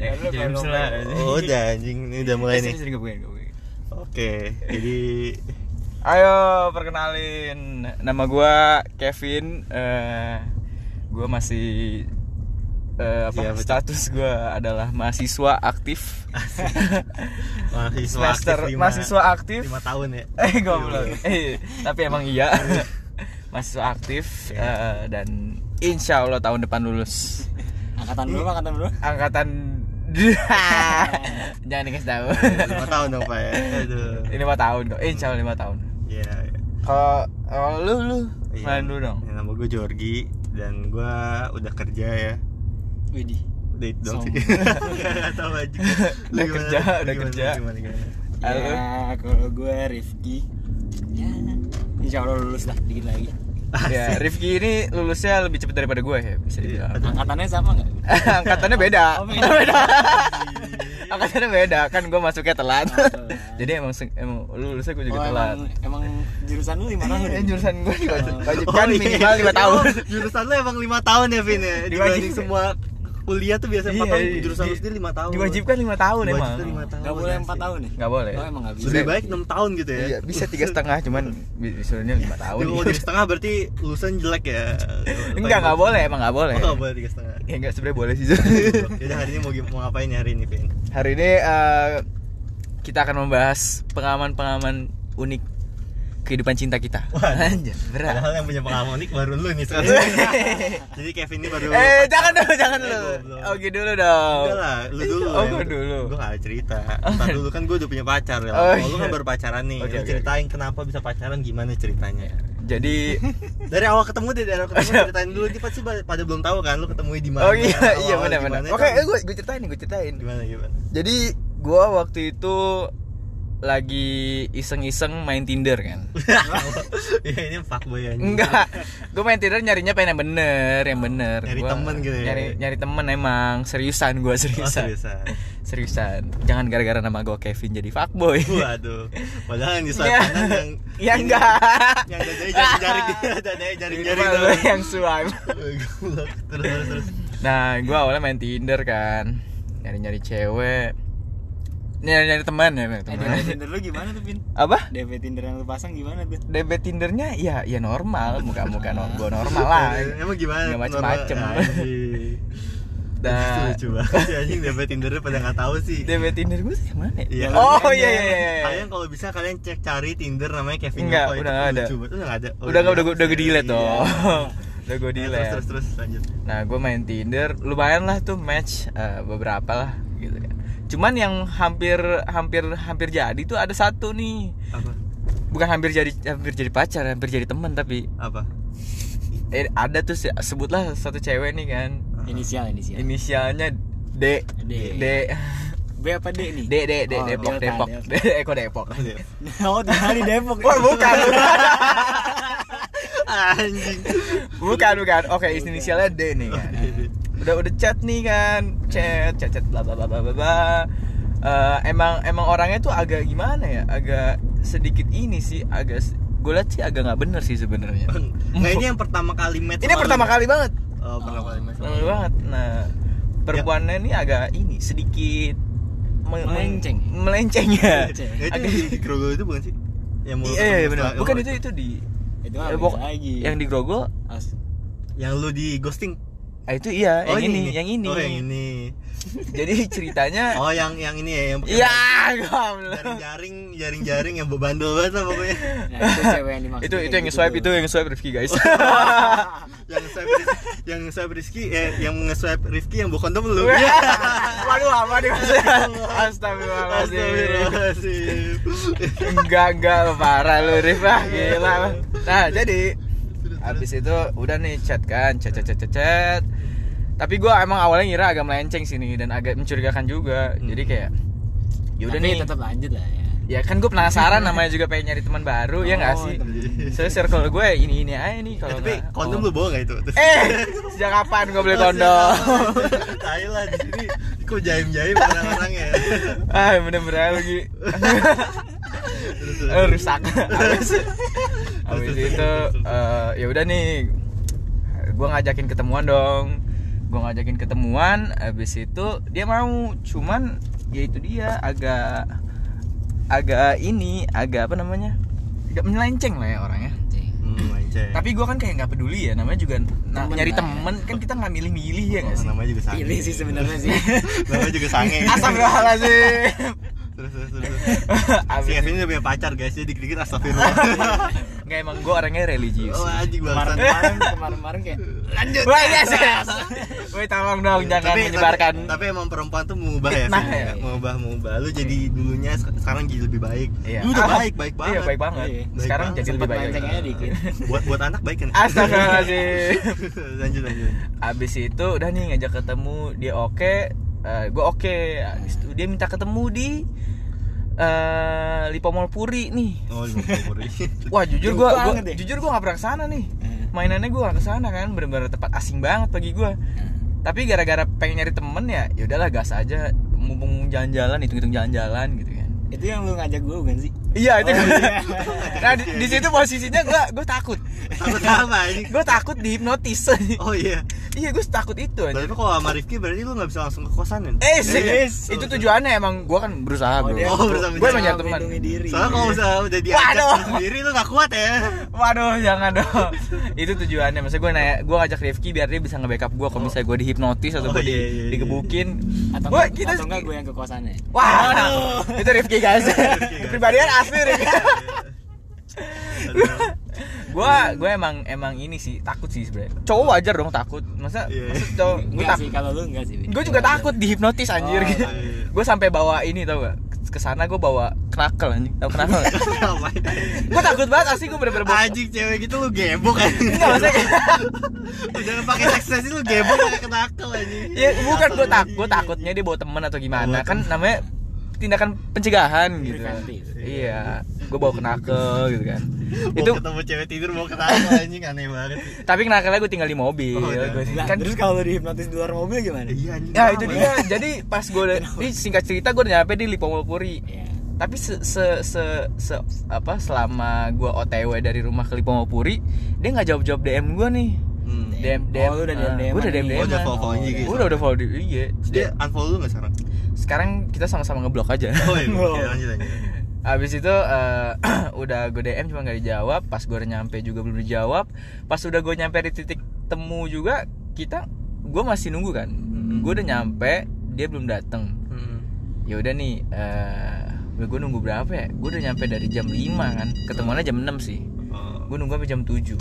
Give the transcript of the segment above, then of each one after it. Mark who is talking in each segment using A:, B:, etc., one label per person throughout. A: Ya, James
B: Goblok.
A: lah.
C: Oh, udah anjing ini udah mulai nih.
A: Sini gue bukain, gue bukain.
C: Oke, jadi
A: Ayo perkenalin nama gua Kevin. eh gua masih eh, apa
C: Iya, betul.
A: status gua adalah mahasiswa aktif.
C: mahasiswa
A: Semester
C: aktif lima-
A: mahasiswa aktif.
C: lima tahun ya.
A: Eh goblok. Eh, tapi emang iya. mahasiswa aktif
C: Iya.
A: eh, dan insya Allah tahun depan lulus.
B: Angkatan dulu,
A: Iya.
B: angkatan dulu.
A: Angkatan jangan dikasih tahu.
C: iya. Lima tahun dong pak ya. Aduh.
A: lima tahun kok. Insya Allah lima tahun.
C: Iya.
A: Kalau kalau lu lu
C: iya.
A: main dulu dong.
C: Ya, nama gue Jorgi dan gue udah kerja ya.
B: Widih.
C: Udah itu dong sih.
B: Sombong.
C: Gak tau aja. Lu
A: Udah
C: gimana?
A: kerja,
C: Lu
A: udah
C: gimana,
A: kerja.
C: gimana, gimana?
A: Halo.
B: Ya, kalau gue Rifki. Ya, insya Allah lulus lah dikit lagi.
A: Ya, Rifki ini lulusnya lebih cepat daripada gue ya,
C: Iya.
A: bisa dibilang.
B: Angkatannya sama nggak?
A: Angkatannya beda.
B: Oh, beda.
A: Angkatannya beda, kan gue masuknya telat.
B: Oh, telat.
A: Jadi emang se- emang lu lulusnya gue juga
B: Oh,
A: telat.
B: emang, emang jurusan lu lima tahun. ya?
A: Eh, jurusan gue
C: Iya. Oh,
A: diwajibkan
C: iya.
A: Kan minimal 5 tahun.
C: Oh, jurusan lu emang 5 tahun ya Vin ya. Dibanding
A: Diwajibkan.
C: semua kuliah tuh biasanya 4
A: Iya,
C: tahun,
A: iya.
C: jurusan lu
A: Di-
C: sendiri 5 tahun.
A: Diwajibkan 5 tahun emang.
C: Diwajibkan lima tahun.
B: Gak boleh empat tahun nih.
A: Nggak boleh.
B: Oh, emang nggak bisa.
C: Lebih baik 6 tahun gitu ya.
A: Iya, bisa tiga setengah cuman disuruhnya 5 tahun.
C: Kalau tiga setengah berarti lulusan jelek ya.
A: Enggak, enggak boleh, emang enggak boleh.
C: Oh, nggak boleh tiga setengah.
A: Ya enggak sebenarnya boleh sih.
C: Jadi hari ini mau gim- mau ngapain ya hari ini, Vin?
A: Hari ini eh, kita akan membahas pengalaman-pengalaman unik kehidupan cinta kita.
C: Waduh.
A: Anjir, berat.
C: Padahal yang punya pengalaman unik baru lu nih sekarang. Jadi Kevin ini baru.
A: Eh, jangan dulu, jangan dulu.
C: goblok.
A: Oke dulu dong.
C: Udah lah, lu dulu.
A: Oh, gua dulu. iya.
C: Gue gak cerita. Ntar dulu kan gue udah punya pacar ya.
A: Oh,
C: Kalau lu
A: iya.
C: kan baru pacaran nih.
A: Oke,
C: Lu
A: oke,
C: ceritain kenapa bisa pacaran, gimana ceritanya?
A: Jadi oh,
C: Dari awal ketemu deh, dari awal ketemu ceritain dulu. Ini pasti ba- pada belum tahu kan, lu ketemu di mana?
A: Oh iya,
C: awal-awal
A: iya benar benar.
C: gimana,
A: Oke,
C: kan?
A: eh, gue gue ceritain nih, gue ceritain.
C: Gimana gimana?
A: Jadi gua waktu itu lagi iseng-iseng main Tinder kan.
C: Iya ini fuckboy anjing. Oh,
A: Enggak. Gue main Tinder nyarinya pengen yang bener, yang bener.
C: Nyari
A: Gua
C: temen gitu ya?
A: Nyari nyari temen emang seriusan gua
C: Oh,
A: seriusan.
C: seriusan.
A: seriusan. Jangan gara-gara nama gua Kevin jadi fuckboy.
C: Waduh, padahal yang di
A: Ya.
C: sayap kanan yang
A: ya
C: ini,
A: enggak.
C: yang dadanya jari-jari gitu, dadanya jari-jari
A: Ini
C: tuh.
A: malah yang swipe.
C: Goblok. terus terus terus.
A: Nah, gue awalnya main Tinder kan, nyari-nyari cewek, nyari-nyari teman ya, nyari
B: Eh,
A: teman.
B: DP Tinder lu gimana tuh, Pin?
A: Apa?
B: DP Tinder yang lu pasang gimana tuh?
A: DB Tindernya ya ya normal, muka-muka no, gua normal lah.
C: Eh, Emang gimana?
A: Nggak macem-macem.
C: Normal- anjing. Itu
A: Nah,
C: Lucu banget sih anjing dapat Tindernya pada nggak tahu sih.
A: DB Tinder gue sih yang mana?
C: Iya.
A: Ya? Oh iya iya iya. iya.
C: Kalian kalau bisa kalian cek cari Tinder namanya Kevin
A: Enggak,
C: Yoko, itu
A: udah nggak ada.
C: lucu banget. Udah nggak ada. Oh,
A: Udah
C: iya.
A: udah udah gue delete
C: Iya.
A: dong. Udah
C: Nah,
A: gue delete.
C: Terus terus terus lanjut.
A: Nah, gue main Tinder, lumayan lah tuh match eh, beberapa lah gitu kan. Cuman yang hampir hampir hampir jadi tuh ada satu nih.
C: Apa?
A: Bukan hampir jadi hampir jadi pacar, hampir jadi teman tapi
C: Apa?
A: eh, ada tuh se- sebutlah satu cewek nih kan.
C: Ah.
B: Inisial,
C: Iya.
B: inisial.
A: Inisialnya D
B: D.
A: D
B: B apa D nih?
A: D D D
B: Oh,
A: Depok
C: iya,
B: Delta,
A: Depok
B: Delta.
A: D Eko Depok.
B: Oh, tinggal di Depok.
A: Oh, bukan.
C: Anjing.
A: bukan bukan. Oke, inisialnya D nih kan. Udah udah chat nih kan. Chat, chat, chat bla bla bla bla bla. bla. Eh, emang emang orangnya tuh agak gimana ya? Agak sedikit ini sih, agak gue liat sih agak nggak bener sih sebenarnya.
C: Nah ini yang pertama kali match.
A: Ini
C: sama
A: pertama
C: lu.
A: kali banget.
C: Oh, pertama kali match. sama
A: Lama
C: lu.
A: banget. Nah, perempuannya ini agak ini sedikit me- me-
B: Melenceng.
A: Melenceng ya.
B: Melenceng.
C: Ya, itu yang di Grogol itu bukan sih? Yang mulut
A: Iya, iya
C: sama
A: benar.
C: mulut.
A: Bukan itu itu di
B: Itu
A: ya,
B: apa
A: pok-
B: lagi?
A: yang di Grogol.
B: As-
C: Yang lu di ghosting.
A: Ah itu iya, yang ini, yang ini.
C: Oh, yang ini.
A: Jadi ceritanya
C: Oh, yang yang ini ya, yang pakai
A: Iya, goblok.
C: jaring-jaring, jaring-jaring yang bebandel banget lah pokoknya.
B: Nah, itu cewek yang dimaksud.
A: Itu
B: gitu
A: itu yang swipe itu yang swipe Rifki guys.
C: yang swipe Riz- yang swipe Rizky eh yang nge-swipe Rifki yang bawa kondom lu.
A: Waduh, apa nih maksudnya? Astagfirullahaladzim.
C: Astagfirullahaladzim. Eh,
A: enggak enggak parah lu Rif ah gila nah jadi abis itu udah nih chat kan chat chat chat chat, chat. tapi gua emang awalnya ngira agak melenceng sini dan agak mencurigakan juga jadi kayak ya udah nih
B: tetap lanjut lah ya.
A: ya kan gue penasaran namanya juga pengen nyari teman baru ya nggak
B: Oh,
A: sih
B: temen.
A: so circle gue ini ini aja nih
C: Eh,
A: kalau
C: tapi
A: nggak-
C: kondom
A: oh.
C: lu bawa nggak itu? Terus-
A: eh sejak kapan gue beli kondom
C: Tai lah di sini kok jaim-jaim ya. orang-orangnya.
A: ah bener-bener lagi
C: Terus, terus.
A: Eh, rusak habis, habis itu eh, ya udah nih gue ngajakin ketemuan dong gue ngajakin ketemuan habis itu dia mau cuman ya itu dia agak agak ini agak apa namanya agak melenceng lah ya orangnya
D: Anjing.
C: Hmm, melenceng.
A: tapi gue kan kayak nggak peduli ya namanya juga nah,
D: Temen
A: nyari
D: lah ya.
A: temen kan kita nggak milih-milih ya nggak
C: Oh,
A: sih
C: namanya juga sange.
B: Pilih sih sebenarnya sih.
C: Namanya juga sange.
A: Astagfirullahaladzim
C: Terus terus terus. Si
D: Iya,
C: Kevin udah punya pacar guys, jadi dikit-dikit astagfirullah.
A: Nggak emang gue orangnya religius
C: Oh anjing bangsat.
B: Kemarin-kemarin kemarin-kemarin kayak
A: Lanjut Woi yes, yes. Woi iya, tolong dong jangan
C: Iya. Tapi-
A: menyebarkan
C: Tapi, tapi emang perempuan tuh mengubah ya,
A: Fitnah
C: Vin,
A: ya.
C: ya. mengubah mengubah. Lu jadi dulunya sek- sekarang jadi lebih baik.
A: Iya.
C: Lu udah
A: Ah,
C: baik baik banget.
A: Iya baik banget
B: Iya,
C: baik
A: Sekarang
C: banget. ya.
A: jadi
B: sempet
A: lebih baik
B: melenceng aja dikit.
C: buat buat anak baik kan.
A: Astagfirullahaladzim
C: lanjut lanjut.
A: Abis itu udah nih ngajak ketemu Dia oke Gue oke Abis itu dia minta ketemu di eh Lipo Mall Puri nih
C: Oh, lima puluh ribu.
A: Wah jujur
B: Jauh
A: gue
B: banget ya.
A: Jujur gue gak pernah kesana nih
B: Eh.
A: Mainannya gue gak kesana kan Bener-bener tempat asing banget bagi gue Tapi gara-gara pengen nyari temen ya yaudahlah gas aja Mumpung jalan-jalan Hitung-hitung jalan-jalan gitu kan
B: Itu yang lu ngajak gue bukan sih?
A: Iya itu
B: Oh,
A: gua-
B: iya.
A: Nah di, di situ posisinya gue gue takut
C: Sama sama anjing.
A: Gue takut dihipnotis
C: Oh iya.
A: Iya gue takut itu aja.
C: Berarti kalau sama Rifki berarti lu nggak bisa langsung ke kosan ya?
A: Eh, sih.
B: Yes.
A: itu tujuannya emang gua kan berusaha,
B: Oh,
A: Bro.
B: dia-
C: Oh, bersama
A: Gua emang
C: sama
A: nyari teman.
B: melindungi diri.
C: Soalnya kalau usaha udah diajak
A: Iya. Waduh.
C: lu sendiri lu nggak kuat ya.
A: Waduh, jangan dong. itu tujuannya. Maksudnya gua nanya, gua ngajak Rifki biar dia bisa nge-backup gua kalau misalnya gua dihipnotis atau
C: Oh,
A: gua di-
C: iya, iya, iya.
A: digebukin.
B: Atau
A: Gua-
B: enggak-
A: kita
B: atau enggak gue yang ke kosannya?
A: Wah, itu Rifki guys. Kepribadian asli Rifki.
C: Aduh.
A: gua gua emang emang ini sih takut sih sebenarnya. Cowok wajar dong takut. Masa
C: Iya.
A: maksud cowok Oh, gua
B: Enggak
A: takut.
B: sih kalau lu enggak sih. Bin.
A: Gue juga
B: Enggak.
A: takut dihipnotis anjir.
B: Oh,
A: gitu.
C: iya.
A: Gue sampai bawa ini tau gak? Kesana gue bawa knakel anjing. Tau knakel?
C: Ngapain?
A: gue takut banget asli gue bener-bener bawa.
C: Anjing cewek gitu lu gebok anjing.
A: Enggak maksudnya kayak-
C: Udah pakai ekspresi lu gebok kayak kenakal anjing.
A: ya bukan gue
C: Kenakal
A: takut
C: lagi.
A: takutnya dia bawa temen atau gimana
C: Bawa
A: kan namanya tindakan pencegahan gitu.
B: Preventif.
A: Iya, gue bawa knakel gitu kan.
C: Mau
A: Itu
C: ketemu cewek tidur mau kenakal anjing aneh banget.
A: tapi knakelnya gue tinggal di mobil.
C: Oh, iya.
A: Gua sih-
B: Lah,
A: kan
B: terus kalau lu dihipnotis di luar mobil gimana?
C: Iya anjing.
A: Ya itu
C: kenapa
A: dia.
C: ya?
A: Jadi pas gue singkat cerita gue nyampe di Lipomo Puri.
B: Iya.
A: tapi se se se, se- apa selama gua OTW dari rumah ke Lipomopuri dia nggak jawab jawab DM gua nih
C: Hmm.
A: DM
B: Oh,
A: DM
B: lu udah
A: eh,
B: DM-an
A: gua udah DM
B: nih.
A: DM
C: Oh, udah follow IG gitu.
A: udah udah follow di iya
C: Dia unfollow lu enggak sekarang?
A: sekarang kita sama-sama ngeblok aja
C: Oh iya,
B: Oh.
C: oke, lanjut lanjut.
A: Abis itu eh, udah gue DM cuma nggak dijawab Pas gue nyampe juga belum dijawab Pas udah gue nyampe di titik temu juga Kita, gue masih nunggu kan
C: Hmm.
A: Gue udah nyampe, dia belum dateng ya udah nih eh gue nunggu berapa ya gue udah nyampe dari jam 5 kan ketemuannya jam 6 sih
C: Oh.
A: gue nunggu sampai jam 7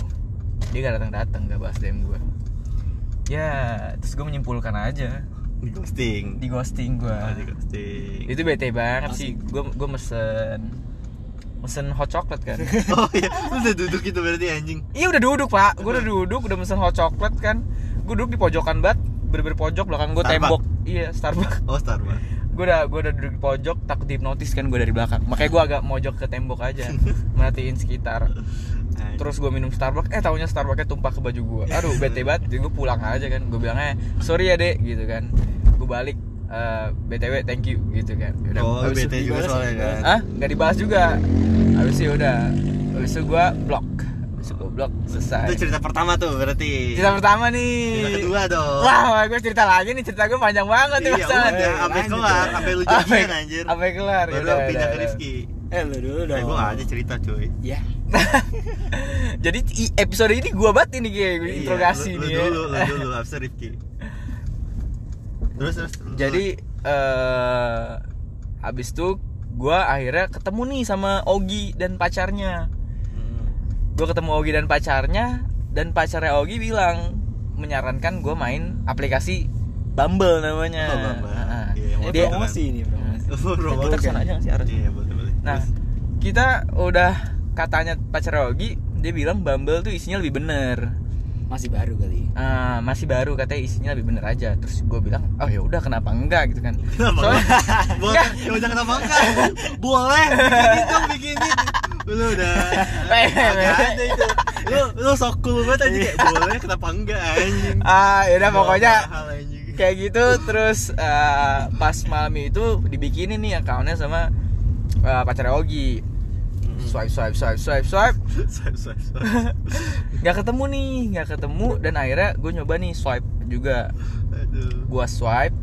A: dia gak datang datang gak bahas DM gue ya terus gue menyimpulkan aja
C: Di ghosting.
A: di ghosting gue
C: Oh, di ghosting.
A: itu bete banget sih gue gue mesen mesen hot chocolate kan
C: Oh iya, lu udah duduk gitu berarti anjing.
A: iya udah duduk pak gue udah duduk udah mesen hot chocolate kan gue duduk di pojokan banget bener-bener pojok belakang gue
C: Starbucks.
A: tembok iya Starbucks
C: Oh, Starbucks.
A: gue udah gue udah duduk di pojok takut dihipnotis kan gue dari belakang makanya gue agak mojok ke tembok aja merhatiin sekitar
C: Anjing.
A: terus gue minum Starbucks eh taunya Starbucksnya tumpah ke baju gue aduh bete banget jadi gue pulang aja kan gue bilangnya sorry ya dek gitu kan gue balik "Eh, btw thank you gitu kan udah
C: Oh,
A: habis
C: bete juga
B: dibalas,
C: soalnya kan.
A: ah nggak dibahas juga habis itu ya udah habis itu gue blok habis itu gue blok
C: Itu
A: selesai
C: cerita pertama tuh berarti.
A: cerita pertama
C: Cerita
A: nih
C: kedua dong.
A: wah gue cerita lagi nih cerita gue panjang banget nih
C: Iya,
A: masalahnya
C: udah, sampai
B: Lanjut,
C: kelar,
B: ya.
C: sampai lu
A: Apa-
C: jadian anjir.
A: apa yang kelar Ya
C: Baru
A: Yaudah,
C: pindah
A: yaudah,
C: ke
A: yaudah.
C: Rifki.
B: Eh lu dulu
C: Eh,
B: dong.
C: gue gak ada cerita cuy.
B: Ya.
A: Jadi i- episode ini gua banget ini kayak gua
C: Iya,
A: interogasi nih
C: lu, lu
A: ya.
C: dulu, lu dulu, abis itu Rifki. Terus, terus. terus.
A: Jadi eh habis itu gua akhirnya ketemu nih sama Ogi dan pacarnya.
C: Hmm.
A: Gua ketemu Ogi dan pacarnya dan pacarnya Ogi bilang menyarankan gua main aplikasi Bumble namanya.
C: Oh, Bumble.
A: Ah, ah.
C: Iya,
B: Ini
C: mau
A: Dia-
C: tahu.
B: promosi ini promosi.
C: Bro,
A: kita kesana aja nggak sih harusnya?
C: Hmm. Iya, boleh, boleh.
A: Nah,
C: Terus,
A: kita udah katanya pacar Ogi, dia bilang Bumble tuh isinya lebih bener.
B: Masih baru kali.
A: Ah, masih baru katanya isinya lebih bener aja terus gue bilang oh ya udah kenapa enggak gitu kan
C: Kenapa
A: Soalnya-
C: enggak? Boleh, ya udah kenapa enggak? Boleh, bikin dong, bikin Lu udah
A: Eh,
C: agak
A: eh.
C: ada itu Lu, lu sok cool banget anjing kayak boleh, kenapa enggak anjing
A: Iya. ah ya udah pokoknya
C: Mahal, anjing.
A: kayak gitu terus eh, pas malam itu dibikinin nih akunnya sama
C: Hmm.
A: eh, pacar Ogi swipe swipe swipe swipe swipe
C: Swipe, swipe, swipe.
A: nggak ketemu nih nggak ketemu dan akhirnya gue nyoba nih swipe juga
C: Aduh.
A: gua swipe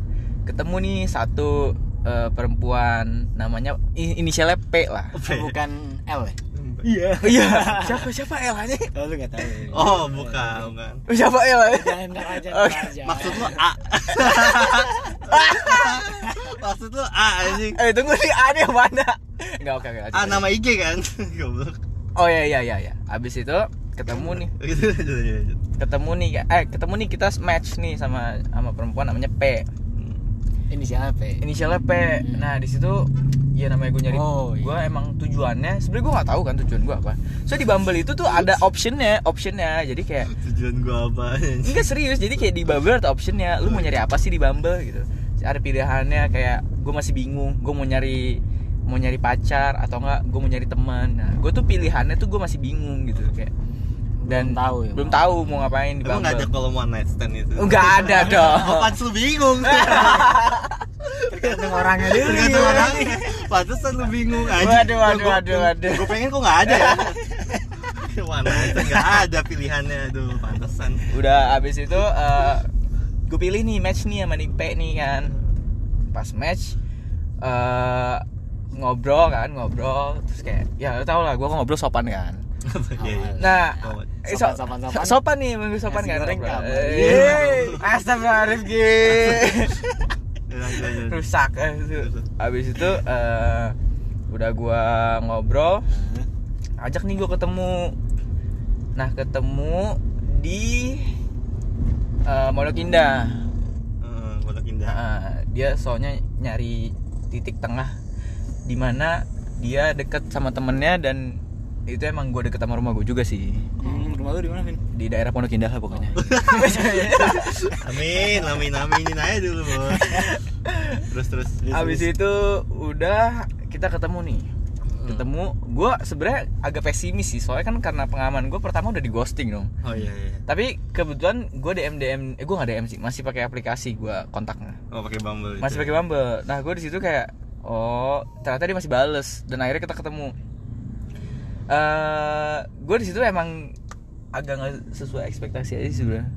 A: ketemu nih satu eh, perempuan namanya i- inisialnya P lah
C: P.
B: bukan L ya?
A: iya iya siapa siapa L nya
B: Oh, lu gak tahu. ya?
C: Oh, bukan, bukan.
A: siapa L nya
B: Jangan ntar aja, ntar
A: Oke.
B: aja.
C: Maksud lu A. Maksud lu A anjing.
A: eh tunggu nih A nya mana nggak oke oke lanjut,
C: A nama IG kan? Goblok.
A: lanjut. oh iya iya iya iya abis itu ketemu nih
C: Gitu lanjut lanjut, lanjut.
A: ketemu nih eh ketemu nih kita match nih sama sama perempuan namanya P
B: ini siapa? ya?
A: inisialnya P nah di situ ya namanya gue nyari
B: Oh, iya.
A: gue emang tujuannya sebenarnya gue nggak tahu kan tujuan gue apa so di Bumble itu tuh ada optionnya optionnya jadi kayak
C: Tujuan gua apa anjing?
A: enggak serius jadi kayak di Bumble ada optionnya lu mau nyari apa sih di Bumble gitu ada pilihannya kayak gue masih bingung gue mau nyari mau nyari pacar atau enggak gue mau nyari teman nah gue tuh pilihannya tuh gue masih bingung gitu kayak dan
B: Belum tahu ya,
A: belum
B: Bang.
A: tahu mau ngapain di
C: Emang nggak ada
A: Bumble
C: kolom one night stand itu?
A: enggak ada dong
C: Apaan lu bingung?
B: Tergantung orangnya dulu.
C: Tergantung
A: Iya.
C: orangnya. Pantesan lu bingung anjing.
A: Waduh, waduh, waduh, waduh.
C: Gue pengen kok nggak ada ya. One night stand nggak ada pilihannya, aduh pantesan.
A: udah abis itu gue pilih nih match nih sama Nick P nih kan pas match eh ngobrol kan ngobrol terus kayak ya lo tau lah gue ngobrol sopan kan
C: Iya, iya.
A: nah
C: Sopan.
A: eh, so-
B: Sopan, sopan,
A: so-
B: sopan.
A: sopan nih emang sopan
B: Nasi
A: kan
B: goreng
A: ngobrol.
B: kamu.
A: Eh, Astagfirullah Rifki
C: Lanjut, lanjut.
A: rusak eh, itu. abis itu eh, udah gue ngobrol ajak nih gue ketemu nah ketemu di eh, Pondok Indah
C: Heeh, Pondok Indah.
A: Nah, dia soalnya nyari titik tengah dimana dia deket sama temennya dan itu emang gue deket sama rumah gue juga sih
B: Hmm, rumah lu di mana, Vin?
A: di daerah Pondok Indah lah pokoknya
C: Amin, amin, aminin aja dulu bos. Terus terus.
A: abis itu udah kita ketemu nih
C: Hmm.
A: ketemu gue sebenarnya agak pesimis sih soalnya kan karena pengalaman gue pertama udah di ghosting dong
C: Oh iya iya.
A: tapi kebetulan gue DM DM eh gue nggak DM sih masih pakai aplikasi gue kontaknya
C: Oh pakai Bumble.
A: masih pakai Bumble. Nah gue di situ kayak oh ternyata dia masih bales dan akhirnya kita ketemu. eh gue di situ emang agak nggak sesuai ekspektasi aja sih sebenarnya.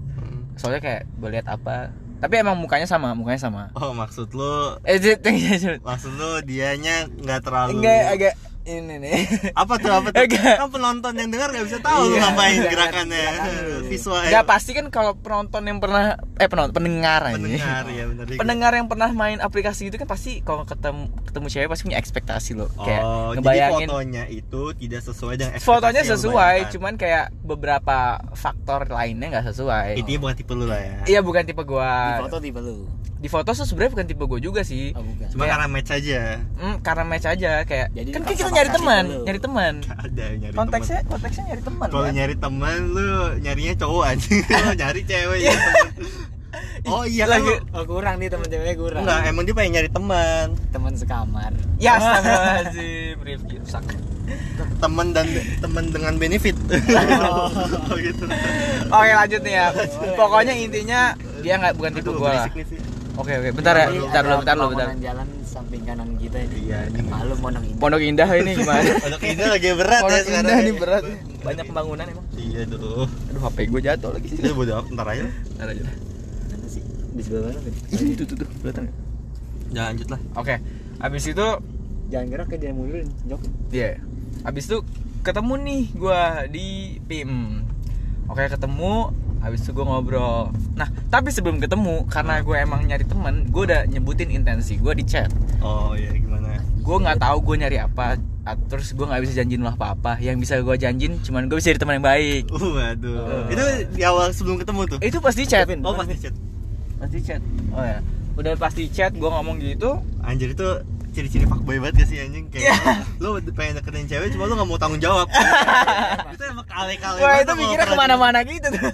A: Soalnya kayak gue lihat apa, tapi emang mukanya sama, mukanya sama.
C: Oh maksud lu
A: Eh, j- j- j-
C: maksud lu dianya nggak terlalu.
A: enggak agak ini nih.
C: Apa tuh apa tuh?
A: Enggak.
C: Kan penonton yang dengar nggak bisa tahu lu
A: Iya,
C: ngapain
A: jangan,
C: gerakannya visual. ya.
A: Enggak pasti kan kalau penonton yang pernah eh penonton pendengar aja.
C: Pendengar ya benar.
A: pendengar yang pernah main aplikasi itu kan pasti kalau ketemu ketemu cewek pasti punya ekspektasi loh kayak
C: Oh, jadi
A: ngebayangin
C: fotonya itu tidak sesuai dengan ekspektasi
A: fotonya
C: yang lu
A: sesuai
C: bayangkan.
A: cuman kayak beberapa faktor lainnya nggak sesuai
C: Intinya bukan tipe lu lah ya.
A: iya bukan tipe
B: Di
A: gua
B: foto tipe lu.
A: di foto tuh sebenarnya bukan tipe gua juga sih
B: Oh, bukan.
C: Cuma
A: Kayak-
C: karena match aja.
A: Hmm, karena match aja kayak
B: Jadi
A: kan
B: dipaksa
A: kita nyari
B: paksa
A: teman
B: gitu.
A: nyari teman
C: Nggak Ada yang nyari temen.
A: konteksnya konteksnya nyari teman
C: Kalau
A: kan?
C: nyari teman lu nyarinya cowok anjing, lu nyari cewek ya. Oh iya kan
A: Lagi-
C: lu-
B: Oh, kurang nih teman ceweknya kurang.
C: Enggak, emang dia pengen nyari teman.
B: Teman sekamar.
A: ya astagfirullahaladzim review rusak
C: Teman dan teman dengan benefit. Oh, gitu.
A: oke lanjut nih ya pokoknya intinya dia nggak bukan tipe
C: Aduh,
A: gua lah
C: berisik nih sih.
A: oke oke bentar ya
B: Ini
A: bentar
B: Iya, ada
A: lo bentar lo bentar
B: pelawanan jalan samping kanan kita ini.
C: Iya, ini.
B: Malu monong ini.
A: pondok indah ini gimana
C: Pondok Indah lagi berat ya
A: pondok
C: sekarang.
A: indah ini berat banyak pembangunan emang
C: Iya tuh.
A: aduh hp gua jatuh lagi
C: Itu bodo amat ntar aja.
A: bentar aja lah.
B: Mana sih? Di sebelah mana, Vin?
A: Ini tuh tuh tuh kelihatan nggak?
C: Jangan lanjut lah.
A: Oke, abis itu
B: Jangan gerak ke dia mundurin, Jok.
A: dia, abis itu ketemu nih gua di PIM. Oke ketemu, abis itu gue ngobrol. Nah tapi sebelum ketemu, karena gue emang nyari temen, gue udah nyebutin intensi gue di chat.
C: Oh iya gimana?
A: Gue nggak tahu gue nyari apa, ah, terus gue nggak bisa janjiin lah apa apa. Yang bisa gue janjin, cuman gue bisa jadi teman yang baik.
C: Uh, Eh, aduh.
A: Eh.
C: Itu di awal sebelum ketemu tuh.
A: Itu pasti chat.
B: Kevin.
C: Oh pasti chat.
A: Pasti chat. Oh ya, udah pasti chat. Gue ngomong gitu,
C: Anjir itu ciri-ciri fuckboy banget gak sih anjing kayak
A: Iya.
C: lu lu pengen deketin cewek cuma lu gak mau tanggung jawab itu emang kale-kale
A: wah
C: banget
A: itu
C: sama
A: mikirnya
C: orang.
A: kemana-mana gitu. tuh.